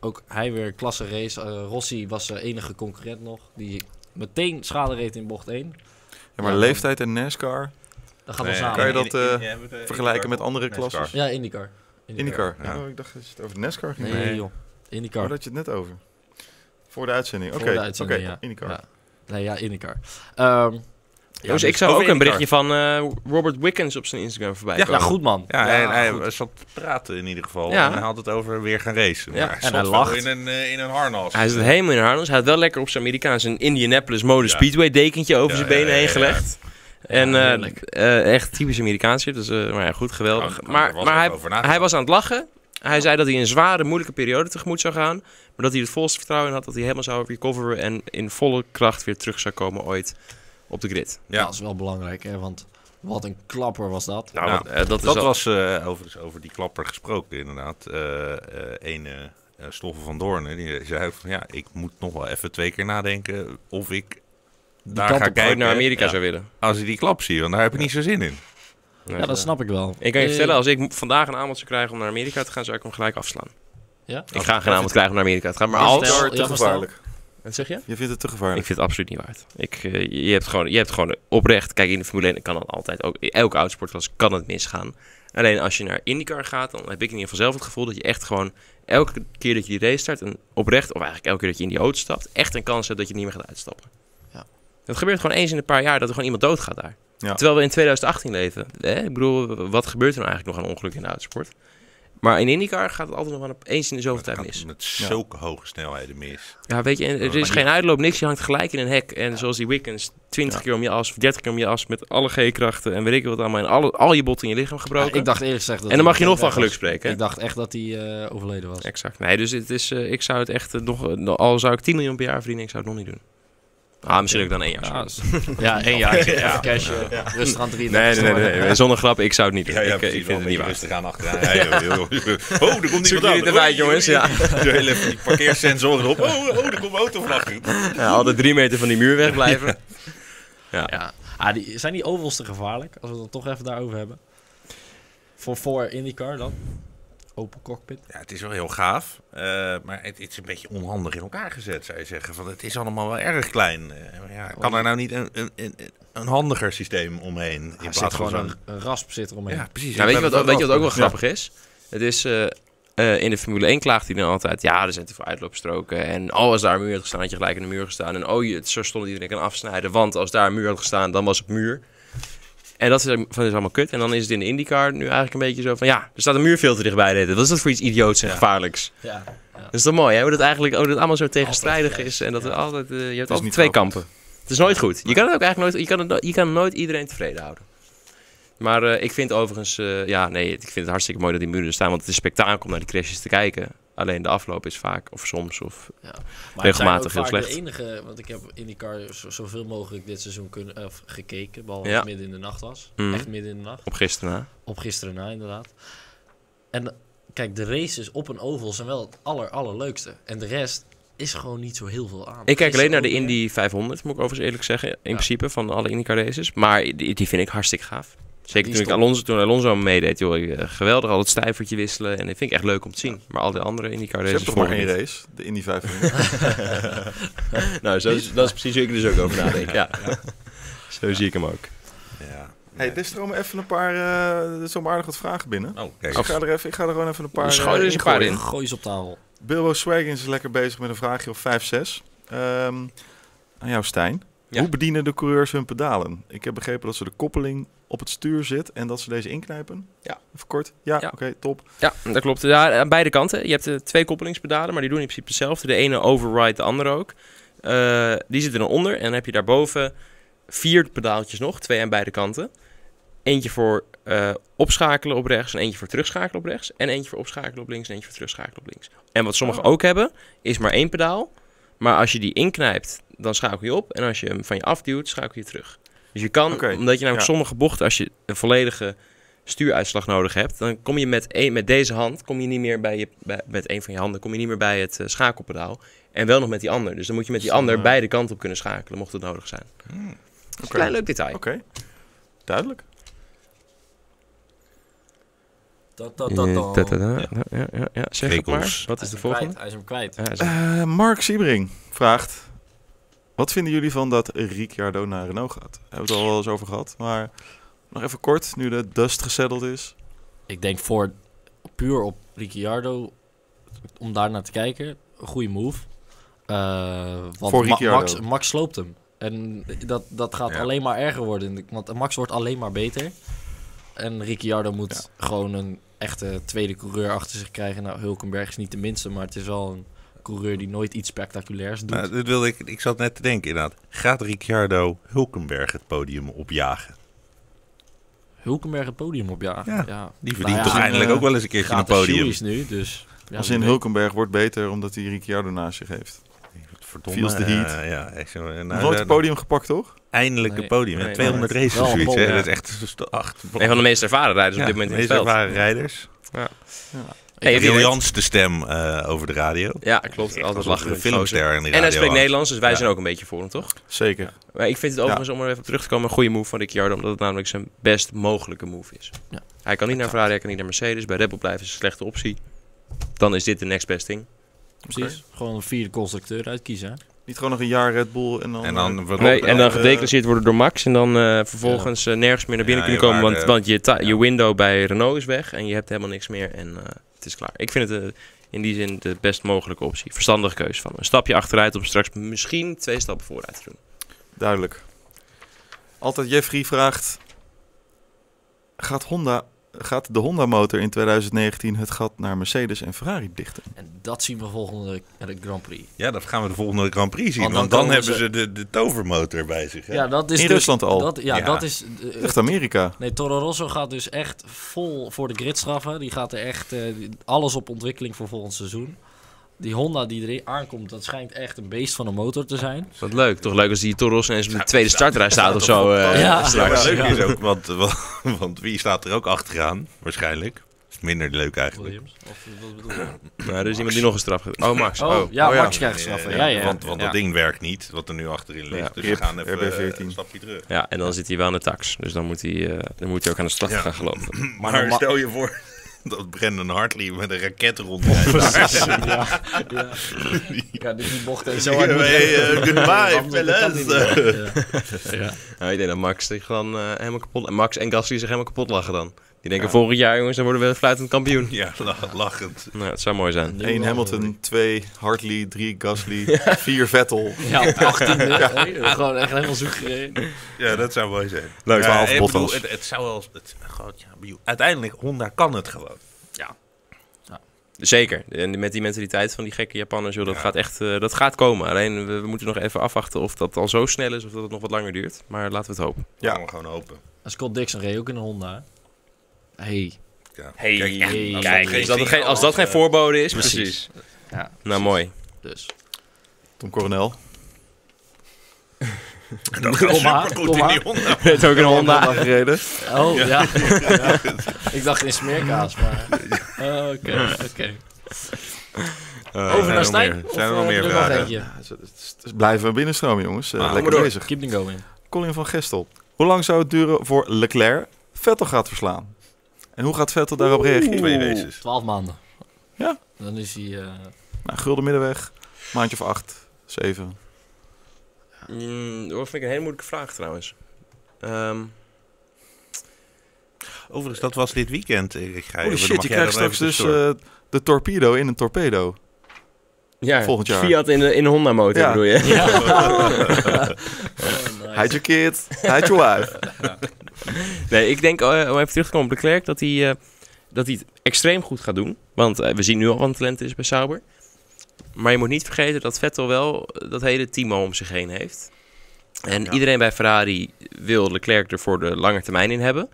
Ook hij weer klasse race. Eh, Rossi was zijn enige concurrent nog. Die meteen schade reed in bocht 1.
Ja, maar
Ja,
leeftijd en NASCAR
Dat gaat
nee,
wel samen.
Kan je dat,
in- in-
eh,
in- jij hebt, eh,
vergelijken met andere
NASCAR.
klasses.
Ja, IndyCar.
IndyCar.
Ja.
Ja. Oh, ik dacht dat je het over NASCAR ging.
Nee,
hebben.
joh. IndyCar.
Waar had je het net over? Voor de uitzending. Oké,
Voor de
oké.
uitzending, ja.
IndyCar.
Ja. Nee, ja, IndyCar. Ehm, ja,
Jongens, ik
dus-
zag
over
ook een
IndyCar.
berichtje van eh, Robert Wickens op zijn Instagram voorbij
Ja,
ja, nou
komen.
goed man.
Ja, en hij
goed.
zat te praten in ieder geval.
Ja.
En hij had het over weer gaan racen.
Ja,
Maar
en
zat
hij
wel
lacht.
In een, eh, in een harnas.
Hij zit helemaal in harnas. Hij had wel lekker op zijn Amerikaans een Indianapolis Motor
Ja.
Speedway dekentje over
Ja,
zijn
ja,
benen
ja,
heen
ja,
gelegd. En
Ja,
eh,
heerlijk.
eh, echt typisch Amerikaans shit. Dus, eh, maar ja, goed, geweldig.
Nou, daar
maar
was
maar
ook
hij,
over nagedacht.
hij was aan het lachen. Hij zei dat hij een zware, moeilijke periode tegemoet zou gaan. Maar dat hij het volste vertrouwen in had dat hij helemaal zou recoveren. En in volle kracht weer terug zou komen ooit op de grid.
Ja.
Dat is wel belangrijk, hè, want wat een klapper was dat.
Nou,
Nou,
eh, dat, is
Dat
al-
was eh, overigens over die klapper gesproken, inderdaad. Eh eh een eh eh, Stoffel van Doorn, die zei ook van ja, ik moet nog wel even twee keer nadenken of ik daar ga
kant op ooit
ooit
kijken
naar Amerika
ja,
zou willen.
als ik die klap zie, want daar heb ik niet zo zin in.
Nee.
Ja, dat snap ik wel.
Ik kan je
Eh,
vertellen, als ik m- vandaag een aanbod zou krijgen om naar Amerika te gaan, zou ik hem gelijk afslaan.
Ja?
Oh,
Ik ga geen aanbod krijgen om naar Amerika te gaan, maar
Is
als...
het wel-
NASCAR, te
ja, maar stel-
gevaarlijk.
Wat zeg je?
Je vindt het te
Ik
gevaarlijk.
vind het absoluut niet waard. Ik, eh, je, hebt gewoon, je hebt gewoon oprecht... Kijk, in de Formule 1 kan het altijd... Ook, in elke autosportklas kan het misgaan. Alleen als je naar IndyCar gaat, dan heb ik in ieder geval zelf het gevoel... dat je echt gewoon elke keer dat je die race start... en oprecht, of eigenlijk elke keer dat je in die auto stapt... echt een kans hebt dat je niet meer gaat uitstappen.
Ja.
Dat gebeurt gewoon eens in een paar jaar... dat er gewoon iemand doodgaat daar.
Ja.
Terwijl we in 2018 leven. Hè? Ik bedoel, wat gebeurt er nou eigenlijk nog aan ongelukken in de autosport? Maar in IndyCar gaat het altijd nog wel op- eens in de zoveel
Dat
tijd
gaat
mis.
Met zulke hoge snelheden mis.
Ja, weet je, en er
Maar
is
die-
geen uitloop, niks. Je hangt gelijk in een hek. En zoals die Wiccans, 20 keer om je as, of 30 keer om je as, met alle G-krachten en weet ik wat allemaal. En alle, al je botten in je lichaam gebroken.
Ja, ik dacht eerlijk gezegd dat
en
hij
dan mag je nog van
weg
geluk
was.
spreken. hè?
Ik dacht echt dat hij eh, overleden was.
Exact. Nee, dus het is, eh, ik zou het echt, eh, nog, eh, al zou ik 10 miljoen per jaar verdienen, ik zou het nog niet doen. Ah, misschien ook dan één jaar.
Ja,
zou
dat Ja, één jaar. Even cashen. Restaurant 3.
Zonder grap, ik zou het niet doen.
Ja, ja,
ik, eh, ik vind het niet waar.
gaan achteraan. Ja, joh, joh, joh. Oh, er
Zoek
komt iemand
jullie
aan.
het erbij,
Oh,
jongens,
joh,
ja.
joh. De hele die parkeersensoren op. Oh, oh, er komt een auto vanaf.
Ja, altijd drie meter van die muur wegblijven.
Ja. Ah, die, zijn die ovals te gevaarlijk? Als we het dan toch even daarover hebben. Voor, voor IndyCar dan? Open cockpit.
Ja, het is wel heel gaaf, eh, maar het, het is een beetje onhandig in elkaar gezet, zou je zeggen. Van, het is allemaal wel erg klein. Eh, maar ja, kan er nou niet een, een, een, een handiger systeem omheen? In
Er
plaats
zit
van
gewoon een,
zo'n-
een rasp zit eromheen.
Ja, precies.
Ja, Nou, weet, je
Ik ben
wat,
het
weet je wat ook wel
Ja.
grappig is? Het is eh, eh, in de Formule 1 klaagt hij dan altijd: ja, er zijn te veel uitloopstroken. En oh, als daar een muur had gestaan, had je gelijk in de muur gestaan. En oh, je, zo stond iedereen kan afsnijden. Want als daar een muur had gestaan, dan was het muur. En dat is, van, dat is allemaal kut. En dan is het in de IndyCar nu eigenlijk een beetje zo van... Ja, er staat een muur veel te dichtbij. dit. Wat is dat voor iets idioots en
Ja.
gevaarlijks?
Ja.
Dat is toch mooi, hè? Hoe dat eigenlijk hoe dat allemaal zo tegenstrijdig is. En dat er
ja.
altijd, eh, je hebt
is
altijd
niet
twee
wel goed.
kampen. Het is nooit goed. Je kan het ook eigenlijk nooit... Je kan, het, no- je kan nooit iedereen tevreden houden. Maar eh, ik vind overigens... eh, ja, nee, ik vind het hartstikke mooi dat die muren er staan. Want het is spektakel om naar die crashes te kijken. Alleen de afloop is vaak, of soms, of...
Maar het zijn ook
Regelmatig heel
vaak De
slecht.
enige, want ik heb IndyCar zo- zoveel mogelijk dit seizoen kunnen, of gekeken. Behalve
Ja.
als het midden in de nacht was.
Mhm.
Echt midden in de nacht.
Op gisteren na.
Op gisteren na, inderdaad. En kijk, de races op een oval zijn wel het aller, allerleukste. En de rest is gewoon niet zo heel veel aan.
Ik kijk alleen
Gisteren
naar de
ook weer.
Indy 500, moet ik overigens eerlijk zeggen. In principe, van alle IndyCar races. Maar die, die vind ik hartstikke gaaf. Zeker
Die
toen, ik
is top.
Alonso, toen Alonso meedeed, joh. eh, Geweldig, al het stijvertje wisselen. En dat vind ik echt leuk om te zien. Maar al die andere IndyCar
Je
races...
hebt toch maar
volgen
één
niet.
race, de Indy 500.
Nou, zo is, dat is precies hoe ik er dus ook over nadenk. Ja. Zo zie ik hem ook.
Ja.
hey, er stromen even een paar, eh er zomaar aardig wat vragen binnen.
Oh, kijk.
Nou,
Dus ik, ga er even, ik ga er gewoon even een paar...
Schoon er
eh,
eens Dus een paar
ingooien.
in.
Gooi eens op tafel.
Bilbo Swaggins is lekker bezig met een vraagje of 5, 6. Ehm, aan jou, Stijn.
Ja.
Hoe bedienen de coureurs hun pedalen? Ik heb begrepen dat ze de koppeling op het stuur zit en dat ze deze inknijpen.
Ja.
Even kort. Ja,
Ja.
oké, top.
Ja, dat klopt. Ja, aan beide kanten. Je hebt eh, twee koppelingspedalen, maar die doen in principe hetzelfde. De ene override, de andere ook. Eh, die zitten dan onder en dan heb je daarboven vier pedaaltjes nog, twee aan beide kanten. Eentje voor eh, opschakelen op rechts en eentje voor terugschakelen op rechts. En eentje voor opschakelen op links en eentje voor terugschakelen op links. En wat sommigen
Oh.
ook hebben, is maar één pedaal. Maar als je die inknijpt, dan schakel je op. En als je hem van je afduwt, schakel je terug. Dus je kan,
Oké,
omdat je namelijk
ja.
sommige bochten, als je een volledige stuuruitslag nodig hebt, dan kom je met, één- met deze hand, kom je niet meer bij je, bij- met een van je handen, kom je niet meer bij het eh, schakelpedaal. En wel nog met die ander. Dus dan moet je met die
Dus dan,
ander
eh,
beide kanten op kunnen schakelen, mocht het nodig zijn.
Hmm.
Dat is een klein leuk detail.
Oké, duidelijk.
Dat, dat, dat, dat.
Ja, ja, ja. Zeg het maar.
Regels.
Eh, Wat is de volgende?
Hij is hem kwijt.
Ja, is-
Eh, Mark Siebring vraagt... Wat vinden jullie van dat Ricciardo naar Renault gaat? Daar hebben we het al wel eens over gehad. Maar nog even kort, nu de dust gezetteld is.
Ik denk voor puur op Ricciardo, om daar naar te kijken, een goede move. Eh, want
Voor
Ma-
Ricciardo.
Max, Max sloopt hem. En dat, dat gaat
Ja.
alleen maar erger worden. in de- Want Max wordt alleen maar beter. En Ricciardo moet gewoon een echte tweede coureur achter zich krijgen. Nou, Hulkenberg is niet de minste, maar het is wel een coureur die nooit iets spectaculairs doet.
Nou, dit wilde ik, ik zat net te denken inderdaad. Gaat Ricciardo Hulkenberg het podium opjagen?
Hulkenberg het podium op, ja.
Ja,
ja.
Die verdient
Nou ja,
toch
en,
eindelijk
eh,
ook wel eens een keertje een
Gaat
podium.
series nu, dus... Ja,
Als
wie
in
weet.
Hulkenberg wordt beter omdat hij Ricciardo naast zich heeft.
Verdomme,
Feels the heat.
eh, ja, echt zo. Nou,
Nog nooit
daar-
het podium gepakt, toch?
Eindelijk
Nee,
een podium. hè.
nee,
200
nooit.
races
Wel
of
een
zoiets.
bol,
hè.
ja.
Dat is echt acht.
Een van de meest ervaren rijders op
Ja,
dit moment in
meest
het veld.
ervaren rijders.
Hey, heb je-
Briljantste stem eh, over de radio.
Ja, klopt.
Echt
Altijd
alsof er
lachen.
Een filmster in de radio.
En hij spreekt
hangt.
Nederlands, dus wij
Ja.
zijn ook een beetje voor hem, toch?
Zeker.
Maar ik vind het overigens, om er even op terug te komen, een goede move van Ricciardo. Omdat het namelijk zijn best mogelijke move is.
Ja.
Hij kan niet naar Ferrari, hij kan niet naar Mercedes. Bij Red Bull blijven is een slechte optie. Dan is dit de next best thing.
Precies. Gewoon een vierde constructeur uitkiezen. hè?
Niet gewoon nog een jaar Red Bull en dan...
En dan, wat-
Nee, en dan
eh,
gedeclasseerd worden door Max. En dan eh, vervolgens eh, nergens meer naar binnen
Ja,
kunnen komen.
je
Want,
waarde-
want je, ta-
ja.
je window bij Renault is weg. En je hebt helemaal niks meer. En eh, het is klaar. Ik vind het eh, in die zin de best mogelijke optie. Verstandige keuze van hem. een stapje achteruit om straks misschien twee stappen vooruit te doen.
Duidelijk. Altijd Jeffrey vraagt: gaat, Honda, gaat de Honda-motor in 2019 het gat naar Mercedes en Ferrari dichten?
En dat zien we volgende eh, Grand Prix.
Ja, dat gaan we de volgende Grand Prix zien.
Want
Want
dan
dan, dan
komen
hebben
ze-
ze de, de tovermotor bij zich.
Ja,
hè.
dat is
In
dus-
Rusland al.
Dat, ja,
Ja.
dat is... eh,
Echt Amerika.
nee, Toro Rosso gaat dus echt vol voor de grid straffen. Die gaat er echt eh, alles op ontwikkeling voor volgend seizoen. Die Honda die erin aankomt, dat schijnt echt een beest van een motor te zijn.
Wat leuk. Toch leuk als die Toros ineens op de tweede startrij staat of zo. eh,
Ja.
Maar
straks.
leuk is ook, want, want, want wie staat er ook achteraan? Waarschijnlijk. Is minder leuk eigenlijk.
Williams, of wat bedoel je?
Maar er is iemand die nog een straf gaat. Oh, Max.
Oh,
Oh,
ja,
oh ja.
Max krijgt straffen.
Eh,
Ja, ja.
Want, want dat
Ja.
ding werkt niet, wat er nu achterin ligt.
Ja,
dus we
rip,
gaan even eh,
RB14.
een stapje terug.
Ja, en dan zit hij wel aan de tax. Dus dan moet hij, eh, dan moet hij ook aan de straf
Ja.
gaan geloven.
Maar,
norma-
stel je voor dat Brandon Hartley met een raket rondrijdt.
Precies, ja. ja. Ja, dus die bocht en zo hard moet
Hey, eh, goodbye,
Dat kan
fellas.
niet meer. Ja.
Ja, ik denk dat Max zich dan eh, helemaal kapot... en Max en Gasly zich helemaal kapot lachen dan. Die denken, volgend jaar jongens, dan worden we fluitend kampioen.
Ja, la- lachend.
Nou, het zou mooi zijn.
1 Hamilton, 2 Hartley, 3 Gasly, 4 Vettel.
Ja, op de 18e. hè? Gewoon echt helemaal zoek gereden.
Ja, dat zou mooi zijn.
Leuk,
Ja,
12
ik bedoel,
Bottas.
het, het zou wel... eens- Het, gewoon, ja, ik bedoel, uiteindelijk, Honda kan het gewoon.
Zeker. En met die mentaliteit van die gekke Japanners, joh, dat,
Ja.
gaat echt, eh, dat gaat komen. Alleen, we, we moeten nog even afwachten of dat al zo snel is of dat het nog wat langer duurt. Maar laten we het hopen.
Ja.
Ja. Gaan we gewoon hopen.
En Scott Dixon reed ook in een Honda. hè? Hey.
Ja.
Hey,
hey,
als
kijk,
dat
Als dat,
geen-
geen, als dat geen
eh,
voorbode is,
precies.
precies.
Ja,
Nou, mooi.
dus.
Tom Coronel.
Dan gaat
Komma,
supergoed in
komma.
die Honda.
Het ook een Honda.
gereden.
Oh, ja. Ja. Ik dacht in smeerkaas, maar... Oh, Oké, oké. Over naar
Zijn er Eh, nog meer,
Stijn? Of,
zijn er nog
eh,
meer
er nog
vragen?
eentje?
Blijven we binnenstromen, jongens. Eh,
Ah,
lekker
maar door.
bezig.
Keep them going.
Colin van Gestel. Hoe lang zou het duren voor Leclerc Vettel gaat verslaan? En hoe gaat Vettel daarop reageren?
Twee races.
12 maanden.
Ja.
Dan is hij... eh,
Nou, gulden middenweg, maandje of 8, 7.
Mm, dat vind ik een hele moeilijke vraag trouwens. Ehm,
Overigens, dat was dit weekend. Ik ik ga
Holy
even,
shit, je krijgt straks dus eh, de torpedo in een torpedo.
ja,
Volgend jaar.
Fiat in, de- in een Honda motor
Ja.
bedoel je?
ja. Oh, nice.
Hide your kid, hide your wife.
Nee, ik denk, eh, om even terug te komen op Leclerc, dat hij, eh, dat hij het extreem goed gaat doen. Want eh, we zien nu al wat talent is bij Sauber. Maar je moet niet vergeten dat Vettel wel eh, dat hele team al om zich heen heeft. En
Ja.
iedereen bij Ferrari wil Leclerc er voor de lange termijn in hebben.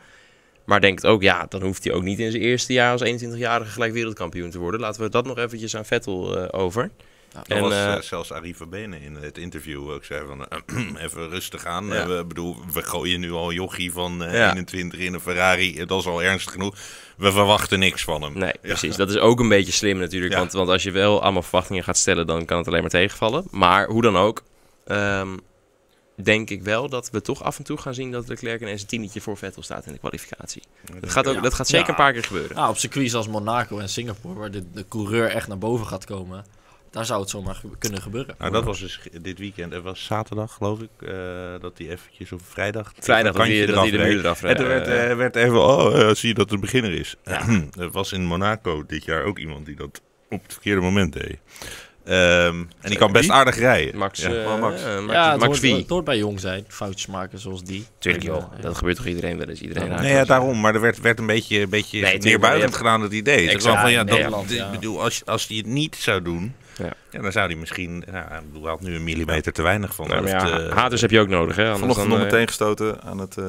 Maar denkt ook, ja, dan hoeft hij ook niet in zijn eerste jaar als 21-jarige gelijk wereldkampioen te worden. Laten we dat nog eventjes aan Vettel eh, over.
Dat
En,
was eh,
eh,
zelfs Arie van Benen in het interview ook zei van eh, even rustig aan.
Ja.
Eh, we, bedoel, we gooien nu al een jochie van eh,
Ja.
21 in een Ferrari. Eh, Dat is al ernstig genoeg. We verwachten niks van hem.
Nee, precies. Dat is ook een beetje slim natuurlijk.
Ja.
Want, want als je wel allemaal verwachtingen gaat stellen, dan kan het alleen maar tegenvallen. Maar hoe dan ook, ehm, denk ik wel dat we toch af en toe gaan zien dat Leclerc ineens een tientje voor Vettel staat in de kwalificatie. Dat gaat, ook,
Ja.
dat gaat zeker
Ja.
een paar keer gebeuren.
Nou, op circuits als Monaco en Singapore, waar de, de coureur echt naar boven gaat komen, daar zou het zomaar ge- kunnen gebeuren.
Nou, dat was dus ge- dit weekend. Het was zaterdag, geloof ik, eh, dat hij eventjes op vrijdag...
Vrijdag
een
dat
kantje
hij, dat hij de
eraf
muur
reed.
eraf
En
reed.
toen werd,
Eh,
eh, werd even, oh, eh, zie je dat het een beginner is. er was in Monaco dit jaar ook iemand die dat op het verkeerde moment deed. Ehm, en die kan best
Wie?
aardig rijden.
Max,
Ja.
eh,
maar Max.
eh, Max,
ja, het
Max
hoort,
V.
het hoort bij jong zijn, foutjes maken zoals die.
Tuurlijk
Ik,
joh,
eh,
dat gebeurt toch iedereen wel eens. Iedereen
Ja.
raakt
Nee,
wel
Nou ja,
eens.
daarom. Maar er werd, werd een beetje, een beetje
Nee, tuurlijk,
neerbuigend
ja.
gedaan dat hij deed. Het
Exact.
is wel van, ja,
Ja,
dat,
Nederland,
dit-
ja.
bedoel, als, als hij het niet zou doen,
Ja.
ja. dan zou hij misschien... Nou, ik bedoel, hij had nu een millimeter te weinig van.
Nou,
Of
maar ja,
het, eh,
haters heb je ook nodig, hè? Anders
Vanochtend
dan,
nog
eh,
meteen gestoten aan het eh,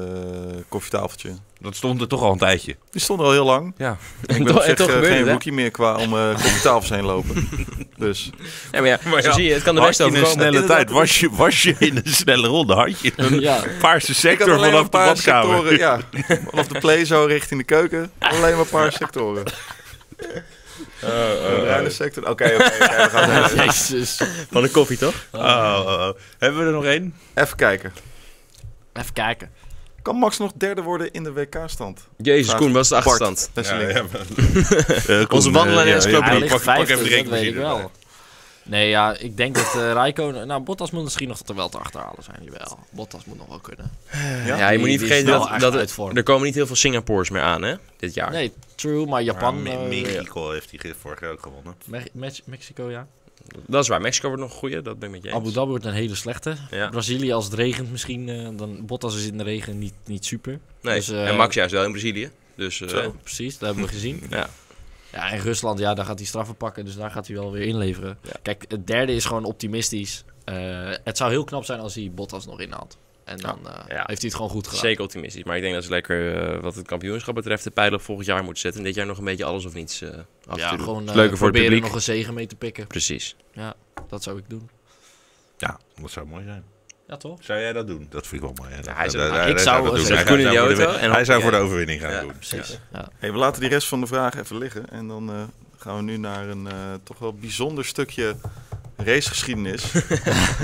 koffietafeltje.
dat stond er toch al een tijdje.
Die stond er al heel lang.
Ja.
Ik
En
ben
toch-
op
en
zich
toch
eh,
gebeurde
geen
het, hè?
rookie meer qua om eh koffietafels heen lopen. dus
Ja, maar ja,
Maar
zo
ja,
zie je, het kan de
Had
best
je in een
overkomen.
snelle tijd, was je, was je in een snelle ronde, had je een
Ja.
paarse sector
alleen
vanaf
maar
de badkamer.
sectoren. Ja, vanaf de play zo richting de keuken. Alleen maar een paar sectoren.
Oh,
de bruine sector. Oké, oké, oké, we gaan even-
Jezus.
Van de koffie, toch?
Oh, oh, oh. Hebben we er nog één?
even kijken.
Even kijken.
Kan Max nog derde worden in de WK-stand?
Jezus, Koen, wat is de
Bart.
achterstand?
Wesseling.
Onze
eh,
wandelaar is
Hij
klopt
pak, pak
ligt
even de
vijfde, dat weet ik
rekenmachine
wel. Nee, ja, ik denk dat eh Rijkoon... Nou, Bottas moet misschien nog er wel te achterhalen zijn, jawel. Bottas moet nog wel kunnen.
Ja,
Ja,
je moet
die-
niet
die is
vergeten
wel
dat,
echt
dat
uit vorm.
er komen niet heel veel Singapores meer aan, hè? Dit jaar.
Nee, true, maar Japan...
Me-
eh,
Mexico heeft hij ge- vorig jaar ook gewonnen.
Me- Mex- Mexico, ja.
Dat is waar. Mexico wordt nog een goeie, dat ben ik met je eens.
Abu Dhabi wordt een hele slechte.
Ja.
Brazilië, als het regent misschien, eh, dan Bottas is in de regen niet, niet super.
Nee.
Dus, eh,
en Max juist wel in Brazilië. Dus eh,
Eh, precies, dat hebben we gezien.
Ja.
Ja, en Rusland, ja, daar gaat hij straffen pakken, dus daar gaat hij wel weer inleveren.
Ja.
Kijk, het derde is gewoon optimistisch. Eh, het zou heel knap zijn als hij Bottas nog inhaalt. En dan eh,
Ja.
heeft hij het gewoon goed gedaan.
zeker optimistisch. Maar ik denk dat ze lekker, eh, wat het kampioenschap betreft, de pijl op volgend jaar moeten zetten. En dit jaar nog een beetje alles of niets eh af
Ja,
te doen.
gewoon
Is
eh,
Leuker voor het
proberen
publiek.
nog een zegen mee te pikken.
Precies.
Dat zou ik doen.
Ja, dat zou mooi zijn.
Ja, toch?
Zou jij dat doen? Dat vind ik wel mooi. hè. Dat-
hij zou-
dat-
maar
hij-
ik
hij
zou-
dat
ik
doen.
zou-
Hij
Koen in
zou
de
voor de
auto
win-
en-
Hij zou voor de
ja.
overwinning gaan
Ja,
doen.
Precies. Ja.
Hey, we laten die rest van de vragen even liggen. En dan eh, gaan we nu naar een eh, toch wel bijzonder stukje racegeschiedenis.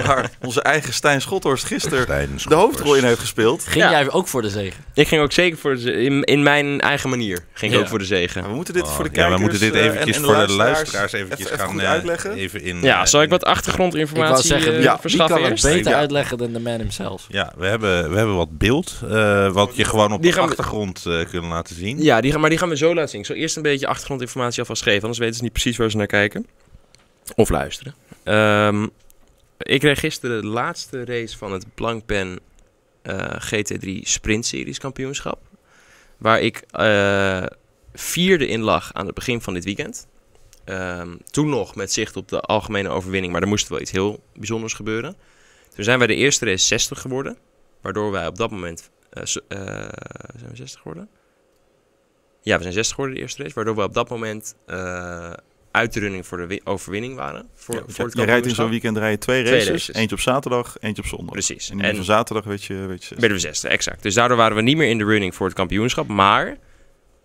waar onze eigen Stijn Schothorst gisteren
Stijn
de hoofdrol in heeft gespeeld.
Ging
Ja.
jij ook voor de zegen?
Ik ging ook zeker voor de ze- in, in mijn eigen manier ging ik
Ja.
ook voor de
Maar
zegen.
we moeten dit voor de
Oh, ja,
kijkers
we moeten dit
eh, en-
eventjes
en
voor de luisteraars
even-
eventjes
even
gaan
goed
eh,
uitleggen.
even in.
Ja,
eh,
zal ik wat
Ik wou
achtergrondinformatie
zeggen,
eh,
wie-
ja,
wie
verschaffen
kan het
eerst?
beter
Ja.
uitleggen dan de man himself?
Ja, we hebben, we hebben wat beeld, eh, wat je gewoon op
Die
de
gaan we-
achtergrond eh, kunnen laten zien.
Ja, die gaan, maar die gaan we zo laten zien. Ik zal eerst een beetje achtergrondinformatie alvast geven, anders weten ze niet precies waar ze naar kijken. Of luisteren. Ehm, ik kreeg gisteren de laatste race van het Blankpen eh GT3 Sprint Series kampioenschap. Waar ik eh, vierde in lag aan het begin van dit weekend. Ehm, toen nog met zicht op de algemene overwinning, maar er moest wel iets heel bijzonders gebeuren. Toen zijn wij de eerste race 60 geworden, waardoor wij op dat moment... eh, zo- eh, zijn we 60 geworden? Ja, we zijn 60 geworden de eerste race, waardoor we op dat moment eh uit de running voor de wi- overwinning waren. Voor,
Ja,
voor het
je rijdt in
kampioenschap.
zo'n weekend rij je twee
Twee
races.
races.
Eentje op zaterdag, eentje op zondag.
Precies.
En, die
En-
van zaterdag weet je... Weet je
Werden we zesde, exact. Dus daardoor waren we niet meer in de running voor het kampioenschap. Maar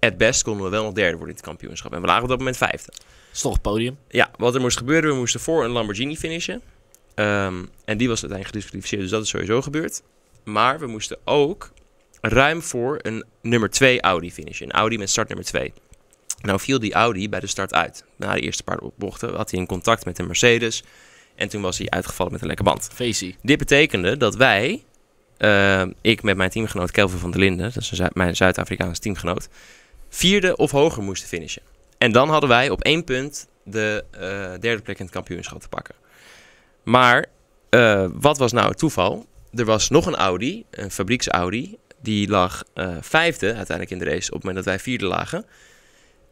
at best konden we wel nog derde worden in het kampioenschap. En we lagen op dat moment vijfde.
Is toch het podium?
Ja, wat er moest gebeuren, we moesten voor een Lamborghini finishen. Ehm, en die was uiteindelijk gedisqualificeerd, dus dat is sowieso gebeurd. Maar we moesten ook ruim voor een nummer 2 Audi finishen. Een Audi met start nummer 2. Nou viel die Audi bij de start uit. Na de eerste paar bochten had hij een contact met een Mercedes. En toen was hij uitgevallen met een lekke band.
Facey.
Dit betekende dat wij, eh, ik met mijn teamgenoot Kelvin van der Linden, dat is een Zu- mijn Zuid-Afrikaanse teamgenoot, vierde of hoger moesten finishen. En dan hadden wij op één punt de eh, derde plek in het kampioenschap te pakken. Maar eh, wat was nou het toeval? Er was nog een Audi, een fabrieks-Audi, die lag eh, vijfde uiteindelijk in de race op het moment dat wij vierde lagen.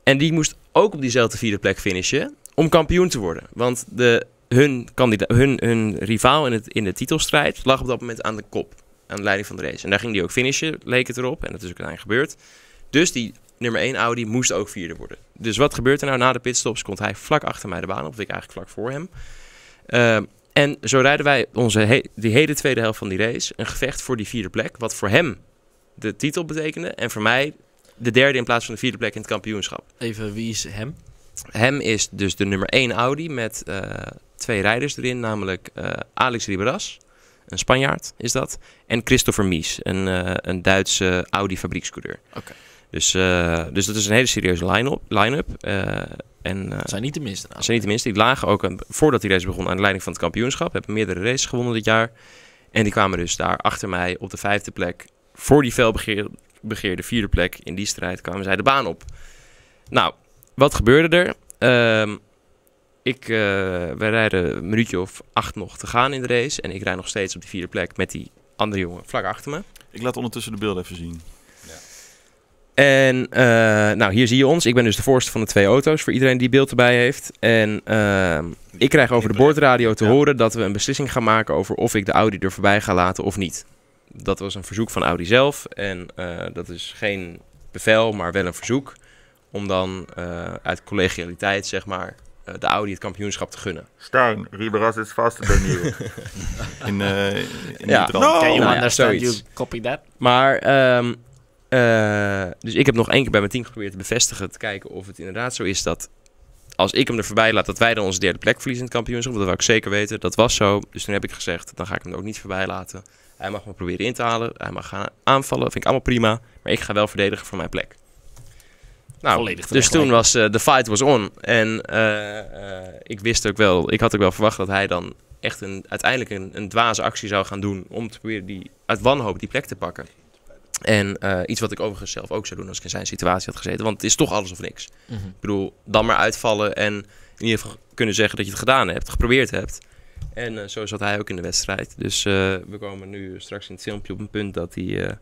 En die moest ook op diezelfde vierde plek finishen om kampioen te worden. Want de hun, kandida- hun, hun rivaal in, het, in de titelstrijd lag op dat moment aan de kop. Aan de leiding van de race. En daar ging die ook finishen, leek het erop. En dat is ook uiteindelijk gebeurd. Dus die nummer 1 Audi moest ook vierde worden. Dus wat gebeurt er nou na de pitstops? Komt hij vlak achter mij de baan op. Of ik eigenlijk vlak voor hem. Eh, en zo rijden wij onze he- die hele tweede helft van die race een gevecht voor die vierde plek. Wat voor hem de titel betekende en voor mij de derde in plaats van de vierde plek in het kampioenschap.
Even, wie is hem?
Hem is dus de nummer 1 Audi met eh, twee rijders erin, namelijk eh, Alex Riberas, een Spanjaard is dat, en Christopher Mies, een, eh, een Duitse Audi fabriekscoureur.
Oké.
Dus, eh, dus dat is een hele serieuze line-up. line-up eh, en, eh,
Dat zijn niet de minste
dat
namen.
zijn niet tenminste. Die lagen ook, aan- voordat die race begon, aan de leiding van het kampioenschap. Hebben meerdere races gewonnen dit jaar. En die kwamen dus daar achter mij op de vijfde plek. Voor die felbegeerde vierde plek in die strijd kwamen zij de baan op. Nou, wat gebeurde er? Ehm, ik, eh, wij rijden een minuutje of acht nog te gaan in de race. En ik rijd nog steeds op die vierde plek met die andere jongen vlak achter me.
Ik laat ondertussen de beelden even zien.
En eh, nou, hier zie je ons. Ik ben dus de voorste van de twee auto's, voor iedereen die beeld erbij heeft. En ehm, ik krijg over de boordradio te
Ja.
horen dat we een beslissing gaan maken over of ik de Audi er voorbij ga laten of niet. Dat was een verzoek van Audi zelf. En eh, dat is geen bevel, maar wel een verzoek. Om dan eh, uit collegialiteit, zeg maar, eh, de Audi het kampioenschap te gunnen.
Stijn, Riberas is vaster dan nieuw. in eh in
Ja.
die trant.
No!
Nou ja,
understand
zoiets.
you copy that?
Maar, ehm, eh, dus ik heb nog één keer bij mijn team geprobeerd te bevestigen, te kijken of het inderdaad zo is dat als ik hem er voorbij laat, dat wij dan onze derde plek verliezen in het kampioenschap. Dat wou ik zeker weten, dat was zo. Dus toen heb ik gezegd, dan ga ik hem er ook niet voorbij laten. Hij mag me proberen in te halen, hij mag gaan aanvallen, vind ik allemaal prima. Maar ik ga wel verdedigen voor mijn plek. Nou,
Volledig
dus
terecht
toen was eh, de fight was on. En eh, eh, ik wist ook wel, ik had ook wel verwacht dat hij dan echt een, uiteindelijk een, een dwaze actie zou gaan doen om te proberen die, uit wanhoop die plek te pakken. En eh, iets wat ik overigens zelf ook zou doen als ik in zijn situatie had gezeten. Want het is toch alles of niks.
Mhm.
Ik bedoel, dan maar uitvallen en in ieder geval kunnen zeggen dat je het gedaan hebt, geprobeerd hebt. En eh, zo zat hij ook in de wedstrijd. Dus eh, we komen nu straks in het filmpje op een punt dat hij eh,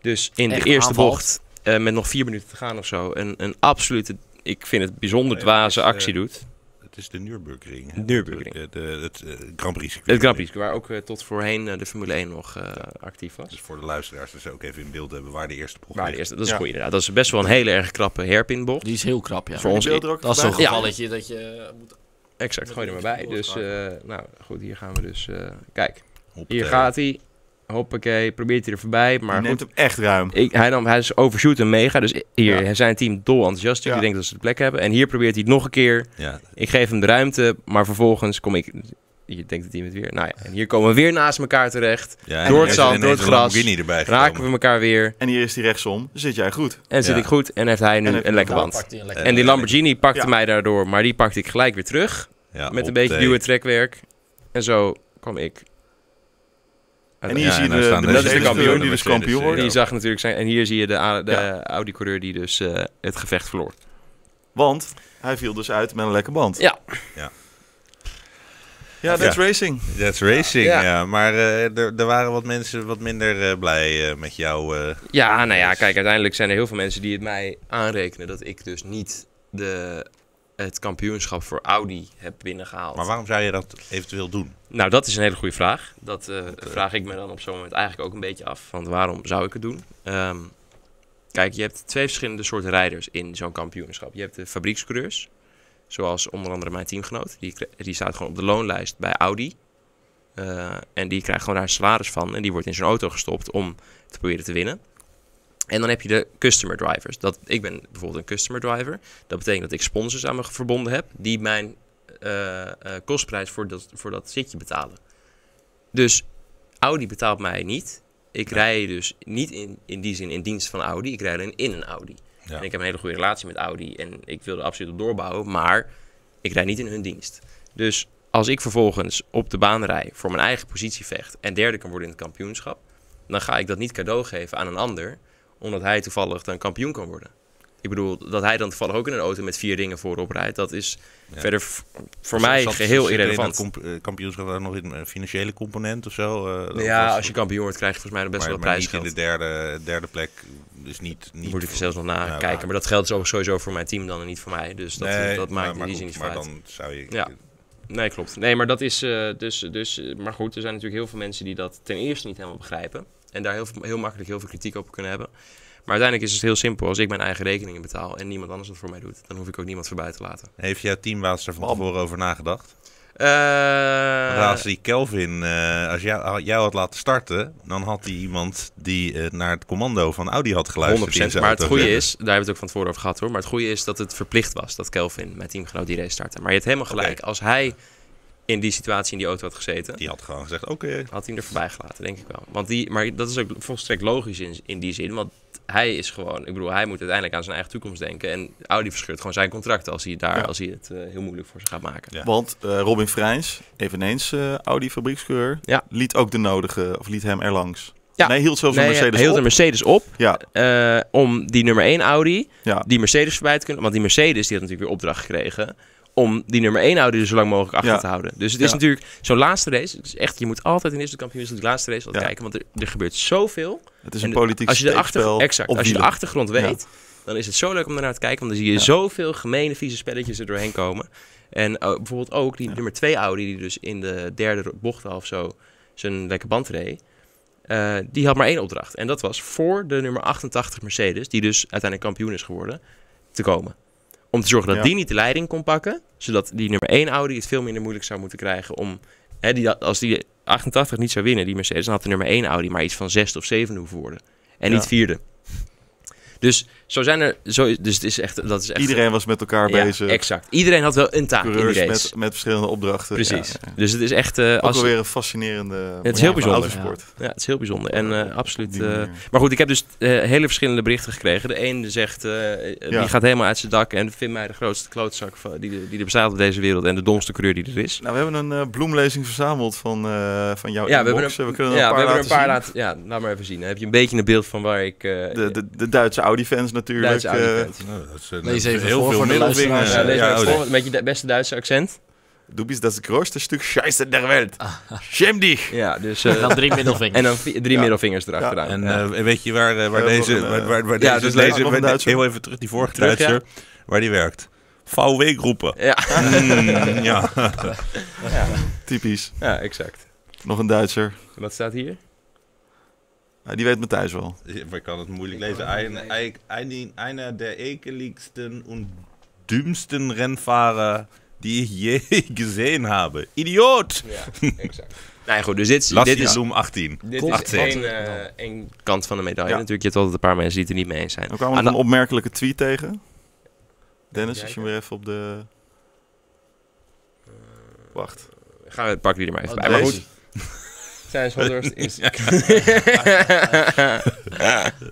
dus in
Echt
de eerste
aanvalt.
bocht eh, met nog vier minuten te gaan of zo een, een absolute, ik vind het bijzonder
Nee, maar het
dwaze
is, eh,
actie doet.
Het is de Nürburgring. hè?
Nürburgring.
De, de- het eh, Grand Prix. circuit.
Het Grand Prix, waar ook eh, tot voorheen eh, de Formule 1 nog eh, actief was.
Dus voor de luisteraars, dat ze ook even in beeld hebben waar de eerste bocht
Maar de
ligt.
eerste, dat is
Ja.
goed inderdaad. Dat is best wel een hele erg krappe hairpinbocht.
Die is heel krap, ja.
Voor ons-
Beelden er ook
Dat is zo'n
voorbij?
Ja.
gevalletje dat je eh, moet...
Exact, gooi er maar bij. Dus, eh, nou goed, hier gaan we dus. eh, kijk,
Hoppatee.
hier gaat hij. Hoppakee, probeert hij er voorbij. Maar
Die neemt
goed,
hem echt ruim.
ik, hij, nam, hij is overshoot en mega. Dus hier zijn team dol enthousiast.
Ja.
Die denkt dat ze de plek hebben. En hier probeert hij het nog een keer.
Ja,
Ik geef hem de ruimte, maar vervolgens kom ik. Je denkt het team het weer. Nou ja, en hier komen we weer naast elkaar terecht.
ja,
Door het
er is
zand,
ineens
door het
een
gras,
Lamborghini erbij
Raken we
gekomen.
elkaar weer.
En hier is hij rechtsom. Zit jij goed?
En zit
Ja.
ik goed. En heeft hij nu
En heeft
een lekker
hij
band.
hij een
lekker-
En die Lamborghini pakte
Ja.
mij daardoor. Maar die pakte ik gelijk weer terug.
Ja,
Met een
op
beetje
de-
duwen trekwerk. En zo kwam ik.
En hier
Ja,
zie je
en daar
de,
staan de-
de
de
Mercedes
kampioen,
die
de
dus kampioen
Mercedes,
wordt.
Die
Ja.
zag natuurlijk zijn. En hier zie je de, A- de
Ja.
Audi-coureur die dus eh, het gevecht verloor.
Want hij viel dus uit met een lekker band.
Ja.
Ja.
Ja, that's racing.
That's racing,
Ja.
ja. Maar eh, er er waren wat mensen wat minder eh, blij eh, met jou. eh.
Ja, nou ja,
Dus-
kijk, uiteindelijk zijn er heel veel mensen die het mij aanrekenen dat ik dus niet de, het kampioenschap voor Audi heb binnengehaald.
Maar waarom zou je dat eventueel doen?
Nou, dat is een hele goede vraag. Dat eh, vraag ik me dan op zo'n moment eigenlijk ook een beetje af. Want waarom zou ik het doen? Ehm, kijk, je hebt twee verschillende soorten rijders in zo'n kampioenschap. Je hebt de fabriekscoureurs, zoals onder andere mijn teamgenoot. Die, kri- die staat gewoon op de loonlijst bij Audi. Eh, en die krijgt gewoon daar een salaris van. En die wordt in zijn auto gestopt om te proberen te winnen. En dan heb je de customer drivers. Dat, ik ben bijvoorbeeld een customer driver. Dat betekent dat ik sponsors aan me verbonden heb. Die mijn eh, eh, kostprijs voor dat, voor dat zitje betalen. Dus Audi betaalt mij niet. Ik rij dus niet in, in die zin in dienst van Audi. Ik rij alleen in een Audi.
Ja.
En ik heb een hele goede relatie met Audi. En ik wil er absoluut op doorbouwen. Maar ik rij niet in hun dienst. Dus als ik vervolgens op de baan rij voor mijn eigen positie vecht. En derde kan worden in het kampioenschap. Dan ga ik dat niet cadeau geven aan een ander. Omdat hij toevallig dan kampioen kan worden. Ik bedoel, dat hij dan toevallig ook in een auto met vier dingen voorop rijdt. Dat is
Ja.
verder v- voor
Zat-
mij
zat-
geheel
zit er in
irrelevant.
dat comp- eh, kampioenschap daar nog in een financiële component of zo? eh, dat- dat
ja,
is-
als je kampioen wordt, krijg je volgens mij nog best
maar,
wel
maar niet in
prijsgeld.
de derde, derde plek. Dus niet... niet
Moet ik er zelfs nog
Ja,
nakijken.
maar-
maar dat geldt zo- sowieso voor mijn team dan en niet voor mij. Dus dat,
Nee,
dat
maar-
maakt in
maar
die
goed,
zin niet
Maar
van uit.
dan zou je...
Ja. Nee, klopt. Nee, maar dat is eh, dus, dus... eh, Maar goed, er zijn natuurlijk heel veel mensen die dat ten eerste niet helemaal begrijpen. En daar heel, veel- heel makkelijk heel veel kritiek op kunnen hebben. Maar uiteindelijk is het heel simpel. Als ik mijn eigen rekeningen betaal en niemand anders dat voor mij doet... dan hoef ik ook niemand voorbij te laten.
Heeft jouw teambaas er van
Bam.
tevoren over nagedacht?
Eh,
Laatst die Kelvin, eh, als jou, jou had laten starten, dan had hij iemand die eh, naar het commando van Audi had geluisterd. die in
100%.
zijn
Maar het
auto
goede is,
zette.
daar hebben we het ook van tevoren over gehad hoor. Maar het goede is dat het verplicht was dat Kelvin met teamgenoot die race startte. Maar je hebt helemaal gelijk. Als hij in die situatie in die auto had gezeten,
Die had gewoon gezegd, oké.
had hij hem er voorbij gelaten, denk ik wel. Want die, maar dat is ook volstrekt logisch in, in die zin. Want hij is gewoon, ik bedoel, hij moet uiteindelijk aan zijn eigen toekomst denken. En Audi verscheurt gewoon zijn contract als hij, daar,
Ja.
als hij het eh, heel moeilijk voor zich gaat maken.
Ja.
Want eh, Robin Vrijns, eveneens eh, Audi fabriekskeur,
Ja.
liet ook de nodige, of liet hem erlangs.
Ja.
Nee, hield zelfs een
hij
Mercedes
hield
op.
de Mercedes op
Ja,
eh, om die nummer 1 Audi,
ja.
die Mercedes voorbij te kunnen. Want die Mercedes die had natuurlijk weer opdracht gekregen om die nummer 1 Audi er zo lang mogelijk achter
Ja.
te houden. Dus het
Ja.
is natuurlijk zo'n laatste race. Het is echt, je moet altijd in de eerste kampioenschap die laatste race wat
Ja.
kijken. Want er, er gebeurt zoveel.
het is een
En
politiek
als je de
steekspel
achter, exact,
op
Als je de
wielen.
achtergrond
Ja.
weet, dan is het zo leuk om daarnaar te kijken. Want dan zie je
Ja.
zoveel gemene, vieze spelletjes er doorheen komen. En eh, bijvoorbeeld ook die
Ja.
nummer 2 Audi, die dus in de derde ro- bocht al of zo zijn lekke band reed. eh, die had maar één opdracht. En dat was voor de nummer 88 Mercedes, die dus uiteindelijk kampioen is geworden, te komen. Om te zorgen dat
Ja.
die niet de leiding kon pakken. Zodat die nummer 1 Audi het veel minder moeilijk zou moeten krijgen om Hè, die, als die 88 niet zou winnen, die Mercedes, dan had de nummer 1 Audi maar iets van zesde of zevende hoeven worden. En
Ja.
niet vierde. Dus zo zijn er. Zo, is- dus het is echt. Dat is echt
Iedereen was met elkaar
ja,
bezig.
Exact. Iedereen had wel een taak in
Coureurs
die race.
met, met verschillende opdrachten.
Precies.
Ja, ja.
Dus het is echt. eh,
Ook
als,
alweer een fascinerende
Het is heel
manier van
bijzonder.
autosport.
ja, het is heel bijzonder. En eh,
Op
absoluut.
die
eh,
manier.
maar goed, ik heb dus eh, hele verschillende berichten gekregen. De een zegt, eh, eh,
Ja.
die gaat helemaal uit zijn dak en vindt mij de grootste klootzak van, die, er- die er bestaat op deze wereld en de domste coureur die er is.
Nou, we hebben een eh, bloemlezing verzameld van, eh, van jouw inbox. we kunnen er
ja,
een
we hebben er
paar laten
een paar
zien.
laten. Ja, laat maar even zien. Dan heb je een beetje een beeld van waar ik. eh,
De, de, de Duitse Audi-fans natuurlijk.
Duitse Audi
eh,
fans.
Nou, dat is, eh,
Lees
dat is
even
heel
voor
veel
voor de
middelvingen.
luisteraars.
Ja,
eh,
lees
ja,
maar eens
oh,
voor, met je de- beste Duitse accent.
Du bist das grootste stuk Scheiße der Welt.
Ah.
Schäm dich.
Ja, dus...
En dan drie middelvingers.
en dan vi- drie
Ja.
middelvingers erachteraan.
En
Ja.
eh, weet je waar, eh, waar
Ja,
deze...
nog een,
Waar, waar, waar
ja,
deze,
dus
deze,
nog
waar-
een Duitser.
heel even terug, die vorige
Terug, ja.
Duitser, waar die werkt. VW-groepen.
ja.
Mm, ja.
Typisch.
ja, exact.
Nog een Duitser.
Wat staat hier?
Ah, die weet Matthijs wel.
Ja, maar ik kan het moeilijk lezen. Ein, ein, ein, einer der ekeligsten und dümmsten Rennfahrer, die ich je gesehen habe. Idioot!
Ja, exact. Nee, goed, dus dit, is-
Lassie
dit is...
Bloem 18.
Dit
Komt
is
achter.
één, eh, één kant van de medaille.
Ja.
Natuurlijk, je hebt altijd een paar mensen die het er niet mee eens zijn.
Dan kwamen we
Aan
nog een
de-
opmerkelijke tweet tegen. Dennis,
Even
als je hem weer even op de... Wacht.
Gaan we pakken die er maar even
Oh,
bij. Maar
deze.
goed, zijn Sanders is...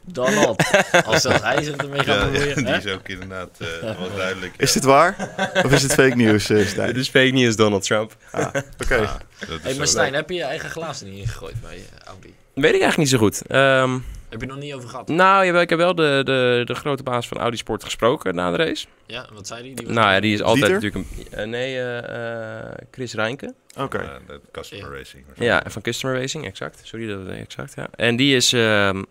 Donald. Als zelfs hij zich ermee
Ja,
gaat bemoeien.
die
hè?
is ook inderdaad eh, wel duidelijk.
Is dit waar? of is het fake nieuws, eh, Stijn?
Dit is fake news, Donald Trump.
Ah, Oké.
Dat is
Hey,
zo.
maar Stijn, heb je je eigen glazen niet ingegooid bij eh, Audi?
Weet ik eigenlijk niet zo goed. Ehm,
Heb je nog niet over gehad?
nou, jawel, ik heb wel de, de, de grote baas van Audi Sport gesproken na de race.
Ja, wat zei die? die was-
Nou ja, die is altijd
Dieter?
natuurlijk een... eh, nee, eh, eh, Chris Reinke.
Oké.
Eh, dat customer racing. of zo.
Ja, van Customer Racing, exact. Sorry, dat exact, ja. En die is ehm,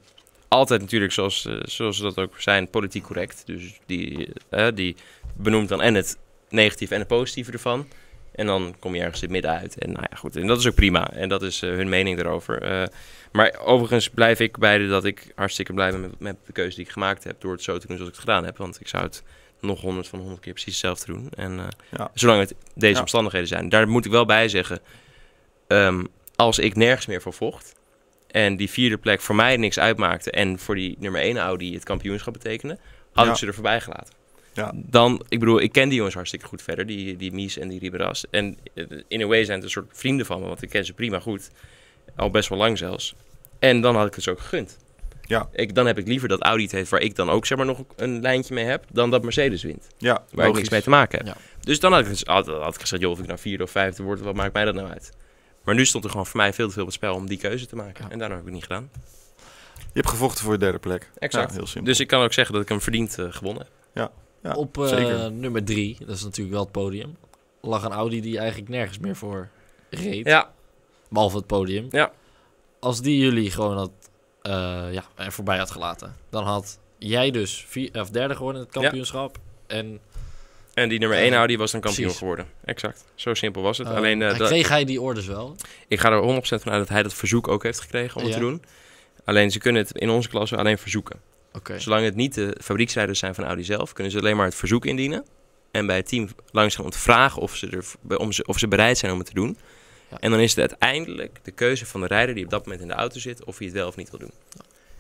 altijd natuurlijk, zoals, eh, zoals ze dat ook zijn, politiek correct. Dus die, eh, die benoemt dan en het negatieve en het positieve ervan. En dan kom je ergens in het midden uit. En nou ja, goed. En dat is ook prima. En dat is eh, hun mening daarover. Eh, maar overigens blijf ik bij de- dat ik hartstikke blij ben met, met de keuze die ik gemaakt heb. Door het zo te doen zoals ik het gedaan heb. Want ik zou het nog honderd van honderd keer precies hetzelfde doen. En eh,
Ja.
zolang het deze
Ja.
omstandigheden zijn. Daar moet ik wel bij zeggen. ehm, als ik nergens meer voor vocht. En die vierde plek voor mij niks uitmaakte. En voor die nummer 1 Audi het kampioenschap betekende. Had
Ja.
ik ze er voorbij gelaten
Ja.
dan, ik bedoel, ik ken die jongens hartstikke goed verder, die, die Mies en die Riberas. En eh, in a way zijn het een soort vrienden van me, want ik ken ze prima goed. Al best wel lang zelfs. En dan had ik het ze ook gegund.
Ja.
Ik, dan heb ik liever dat Audi het heeft, waar ik dan ook zeg maar nog een lijntje mee heb, dan dat Mercedes wint.
Ja,
Waar ik
logisch.
niks mee te maken heb.
Ja.
Dus dan had ik, dus- had, had ik gezegd, joh, of ik nou vierde of vijfde word, wat maakt mij dat nou uit? Maar nu stond er gewoon voor mij veel te veel op het spel om die keuze te maken.
Ja.
En daarom heb ik het niet gedaan.
Je hebt gevochten voor de derde plek.
Exact.
Ja, heel simpel.
Dus ik kan ook zeggen dat ik hem verdiend eh, gewonnen heb.
Ja,
Op eh,
zeker.
nummer drie, dat is natuurlijk wel het podium, lag een Audi die eigenlijk nergens meer voor reed.
Ja,
Behalve het podium.
Ja.
Als die jullie gewoon had, eh, ja, er voorbij had gelaten, dan had jij dus vier, of derde geworden in het
Ja.
kampioenschap. En
en die nummer 1
Ja.
Audi was dan kampioen
Precies.
geworden. Exact. Zo simpel was het.
eh,
Alleen, eh,
hij
dat-
kreeg hij die orders wel.
Ik ga er 100% van uit dat hij dat verzoek ook heeft gekregen om het
Ja.
te doen. Alleen ze kunnen het in onze klasse alleen verzoeken.
Oké.
Zolang het niet de fabrieksrijders zijn van Audi zelf, kunnen ze alleen maar het verzoek indienen. en bij het team langs gaan om te vragen of ze, er, om ze, of ze bereid zijn om het te doen.
Ja.
En dan is het uiteindelijk de keuze van de rijder die op dat moment in de auto zit, of hij het wel of niet wil doen.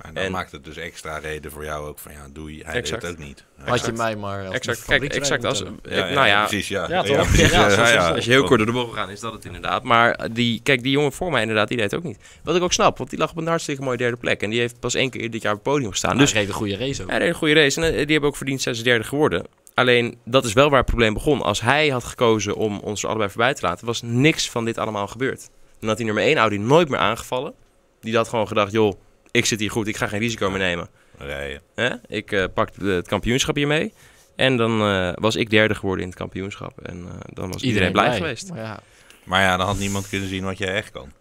Maar dan
En-
maakt het dus extra reden voor jou ook van ja, doei, hij
Exact.
deed het ook niet. Ja,
Had je mij maar als
Exact, kijk,
fabrieksrijder
exact als,
moeten
eh, nou ja,
precies, ja.
Ja, toch?
precies,
Ja,
eh,
zo- zo- zo.
als je heel kort door de bocht gaat, is dat het inderdaad. Maar eh, die, kijk, die jongen voor mij inderdaad, die deed het ook niet. Wat ik ook snap, want die lag op een hartstikke mooie derde plek. En die heeft pas één keer dit jaar op het podium gestaan.
hebben.
dus
Maar hij reed een goede race ook.
Hij reed een goede race en eh, die hebben ook verdiend zijn ze derde geworden. Alleen, dat is wel waar het probleem begon. Als hij had gekozen om ons er allebei voorbij te laten, was niks van dit allemaal gebeurd. Dan had die nummer 1 Audi nooit meer aangevallen. Die had gewoon gedacht, joh, ik zit hier goed, ik ga geen risico meer nemen.
Rijden.
Hè? Ik eh, pak de- het kampioenschap hiermee. En dan eh, was ik derde geworden in het kampioenschap. En eh, dan was iedereen, blij, geweest.
Maar ja,
Maar ja, dan had niemand kunnen zien wat jij echt kan.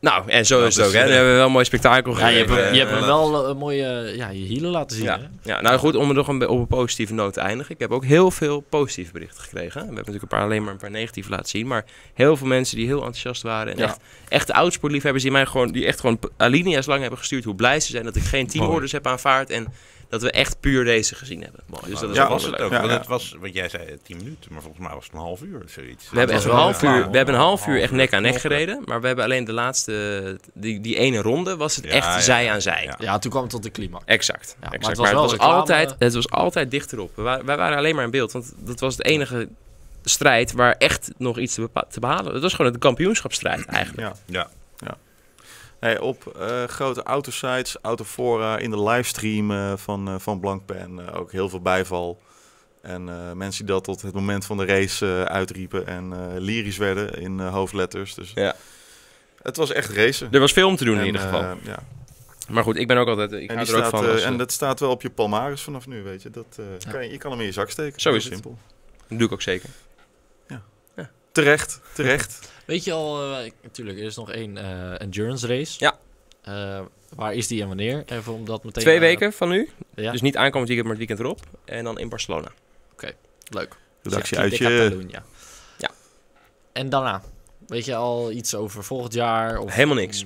Nou, en zo
Dat
is het
is,
ook. Hè?
eh,
Dan hebben we wel een mooi spektakel
Ja, je
gegeven.
hebt, hem- je hebt
Eh,
hem wel eh, een mooie eh, ja, je hielen laten zien.
Ja.
Hè?
Ja, nou goed, om er nog een, be- op een positieve noot te eindigen. Ik heb ook heel veel positieve berichten gekregen. We hebben natuurlijk een paar, alleen maar een paar negatieve laten zien. Maar heel veel mensen die heel enthousiast waren. En
Ja.
echt, echt de oudsportliefhebbers die mij gewoon, die echt gewoon p- alinea's lang hebben gestuurd. Hoe blij ze zijn dat ik geen teamorders heb aanvaard. En dat we echt puur deze gezien hebben. Dus dat is
ja,
ook
was
wel
het
leuk.
ook.
Ja,
want
ja.
het was, want jij zei eh, 10 minuten, maar volgens mij was het een half uur of zoiets.
We hebben, echt
was
een
wel
half
een
uur,
verhaal.
we hebben een half uur echt nek aan nek
Knokken.
gereden. Maar we hebben alleen de laatste, die, die ene ronde, was het
Ja,
echt
ja,
zij
ja,
aan zij.
ja.
Ja, toen kwam het tot de climax.
Exact.
maar
exact.
het was
Maar,
wel
het, was
reclame.
altijd, het was altijd dichterop. We waren, wij waren alleen maar in beeld. Want dat was het enige strijd waar echt nog iets te, bepa- te behalen. Het was gewoon een kampioenschapsstrijd eigenlijk.
Ja.
Ja.
Hey, op eh, grote autosites, autofora, in de livestream eh, van, eh, van Blankpen eh, ook heel veel bijval. En eh, mensen die dat tot het moment van de race eh, uitriepen en eh, lyrisch werden in eh, hoofdletters. Dus
Ja.
het was echt racen.
Er was veel om te doen
En,
in ieder geval.
eh, ja.
maar goed, ik ben ook altijd... Ik
En,
hou
die
er ook
staat,
van.
eh,
als,
en
eh,
dat staat wel op je palmaris vanaf nu, weet je. Dat, eh, kan je, je kan hem in je zak steken.
Zo
Heel
is het.
simpel.
dat doe ik ook zeker.
Terecht, terecht.
Weet je al, eh, ik- natuurlijk, er is nog één eh, endurance race.
Ja.
Eh, waar is die en wanneer? Even om dat meteen...
Twee
eh,
weken van nu.
Ja,
Dus niet aankomend weekend, maar het weekend erop. En dan in Barcelona.
leuk.
Redactie
Ja,
uit je.
Decathlon, ja.
Ja.
En daarna? Weet je al iets over volgend jaar? Of... Mm,
Helemaal niks.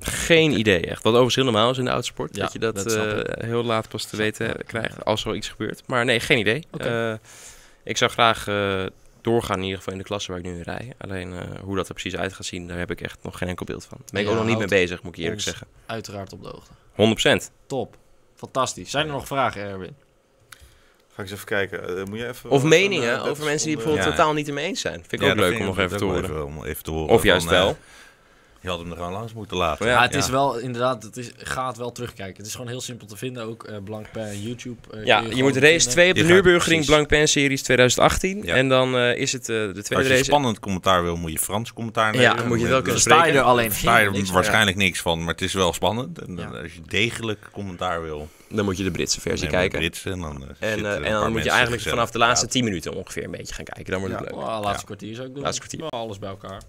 Geen idee echt. Wat overigens heel normaal is in de autosport.
Ja,
dat je dat,
dat snap
eh, heel laat pas te
Snap
weten
ik.
krijgt als er iets gebeurt. Maar nee, geen idee.
Oké.
Eh, ik zou graag eh, doorgaan in ieder geval in de klasse waar ik nu in rij. Alleen eh, hoe dat er precies uit gaat zien, daar heb ik echt nog geen enkel beeld van. Daar ben ik
Ja,
ook nog niet mee
houdt
bezig, moet ik je eerlijk
ons-
zeggen.
Uiteraard op de hoogte.
100 procent.
Top. Fantastisch. Zijn er nog vragen, Erwin?
Ga ik eens even kijken. Eh, moet je even
Of
een,
meningen
eh,
over mensen
dertig
die
seconden-
bijvoorbeeld
Ja.
totaal niet ermee eens zijn. Vind ik
Ja,
ook
dat
leuk om nog
ik
even te
ook
horen.
wel Om even te horen.
Of juist
van, eh,
wel.
je had hem er gewoon langs moeten laten.
Ja,
Ja, het is wel inderdaad, het is, ga het wel terugkijken. Het is gewoon heel simpel te vinden, ook eh blank bij YouTube. eh, kun
Ja, je
gewoon
moet race
vinden.
2 op
Je
de
gaat-
Nürburgring
precies.
Blank Pen Series 2018.
Ja.
En dan eh, is het eh, de
Als
tweede
je
race.
spannend commentaar wil, moet je Frans commentaar nemen.
Ja, dan moet je het wel
Dan
kunnen
Sta je
spreken.
er alleen
Sta je
Niks
er
van.
waarschijnlijk niks van, maar het is wel spannend. En dan,
Ja.
als je degelijk commentaar wil,
Dan moet je de Britse versie
neem je
kijken.
Brits en dan,
En,
eh, zitten
eh,
een
en dan
paar
moet je
mensen
eigenlijk
gezellig
vanaf de laatste
te
10 minuten ongeveer een beetje gaan kijken. Dan wordt het
Ja.
leuk.
Oh, laatste kwartier zou ik doen.
Laatste kwartier.
Oh, alles bij elkaar.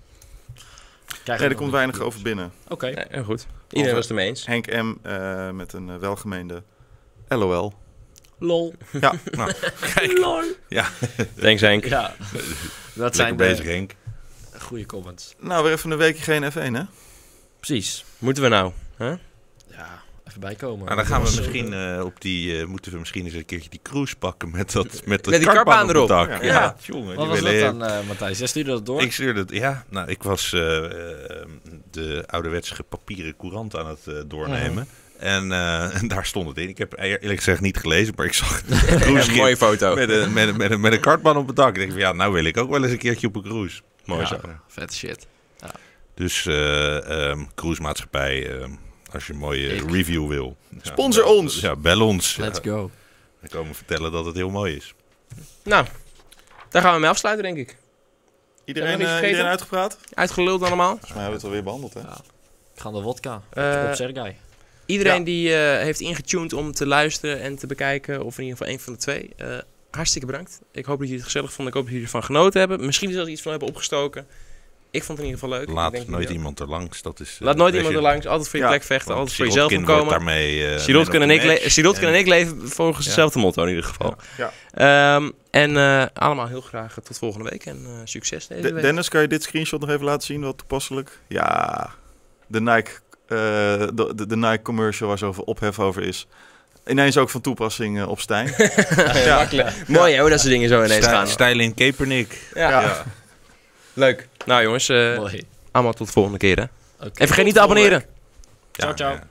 Krijg
Nee,
je
er
nog
komt
niet.
weinig over binnen.
Oké.
Ja, heel goed. Iedereen was het ermee eens.
Henk M. eh, met een eh, welgemeende LOL.
Lol.
nou. praten. Kijk,
Lol.
eh,
Thanks Henk.
Ja.
lekker
Dat zijn
bezig,
de
Henk.
goede comments.
Nou, weer even een weekje geen F1, hè?
Precies.
Moeten we nou? hè?
Ja, even bijkomen.
Maar dan gaan we
Dat was, eh,
misschien eh, op die, eh, moeten we misschien eens een keertje die cruise pakken met dat met dat
Met die kartbaan
kartbaan op het
erop.
dak.
Ja.
Ja,
Ja.
jongen,
Wat
die
was
willen
dat dan, eh Matthijs? Jij stuurde dat door?
Ik stuurde het, ja. Nou, ik was eh, eh, de ouderwetse papieren courant aan het eh, doornemen. En, eh, en daar stond het in. Ik heb e- eerlijk gezegd niet gelezen, maar ik zag een
Een mooie
cruiseschip
foto.
met een, met, een, met, een, met een kartbaan op het dak. Ik denk van, ja, nou wil ik ook wel eens een keertje op een cruise.
Mooi
Ja.
zo.
Vet shit.
Dus eh ehm cruisemaatschappij, ehm, als je een mooie
Ik.
review wil. Ja,
Sponsor
bel-
ons!
Ja, bel ons. Ja,
Let's go.
dan komen we vertellen dat het heel mooi is.
Nou, daar gaan we mee afsluiten denk ik. Hebben we
Iedereen,
niet
eh,
vergeten?
iedereen uitgepraat? Volgens
Uitgeluld allemaal.
mij hebben we het alweer behandeld, hè?
Ja. Ik ga aan de wodka.
Eh,
op Sergei.
iedereen
Ja.
die eh, heeft ingetuned om te luisteren en te bekijken. Of in ieder geval één van de twee. eh, hartstikke bedankt. Ik hoop dat jullie het gezellig vonden. Ik hoop dat jullie ervan genoten hebben. Misschien zelfs iets van hebben opgestoken. Ik vond het in ieder geval leuk. Ik
Laat
denk
nooit
jullie ook.
iemand er langs. Dat is, eh,
Laat nooit
als
iemand
je-
er langs. Altijd voor je
Ja.
plek vechten.
want
Altijd voor jezelf
Sirotkin wordt
omkomen.
daarmee... eh,
Sirotkin
man
en
of
ik,
the
le-
match.
Sirotkin
En-
en ik leven volgens
Ja.
hetzelfde motto in ieder geval.
Ja.
Ehm, en eh, allemaal heel graag tot volgende week en eh, succes deze
De-
week.
Dennis, kan je dit screenshot nog even laten zien? Wat toepasselijk. Ja, de Nike, eh, de, de, de Nike commercial waar zoveel ophef over is. Ineens ook van toepassing eh, op Stijn.
Ja. Mooi hè, hoe dat soort dingen zo ineens gaan.
Stijlin Kaepernick.
Ja.
Ja.
Leuk. Nou jongens, eh,
Mooi.
allemaal tot de volgende keer hè.
Oké.
En vergeet niet te abonneren.
Ciao, ciao.
ja.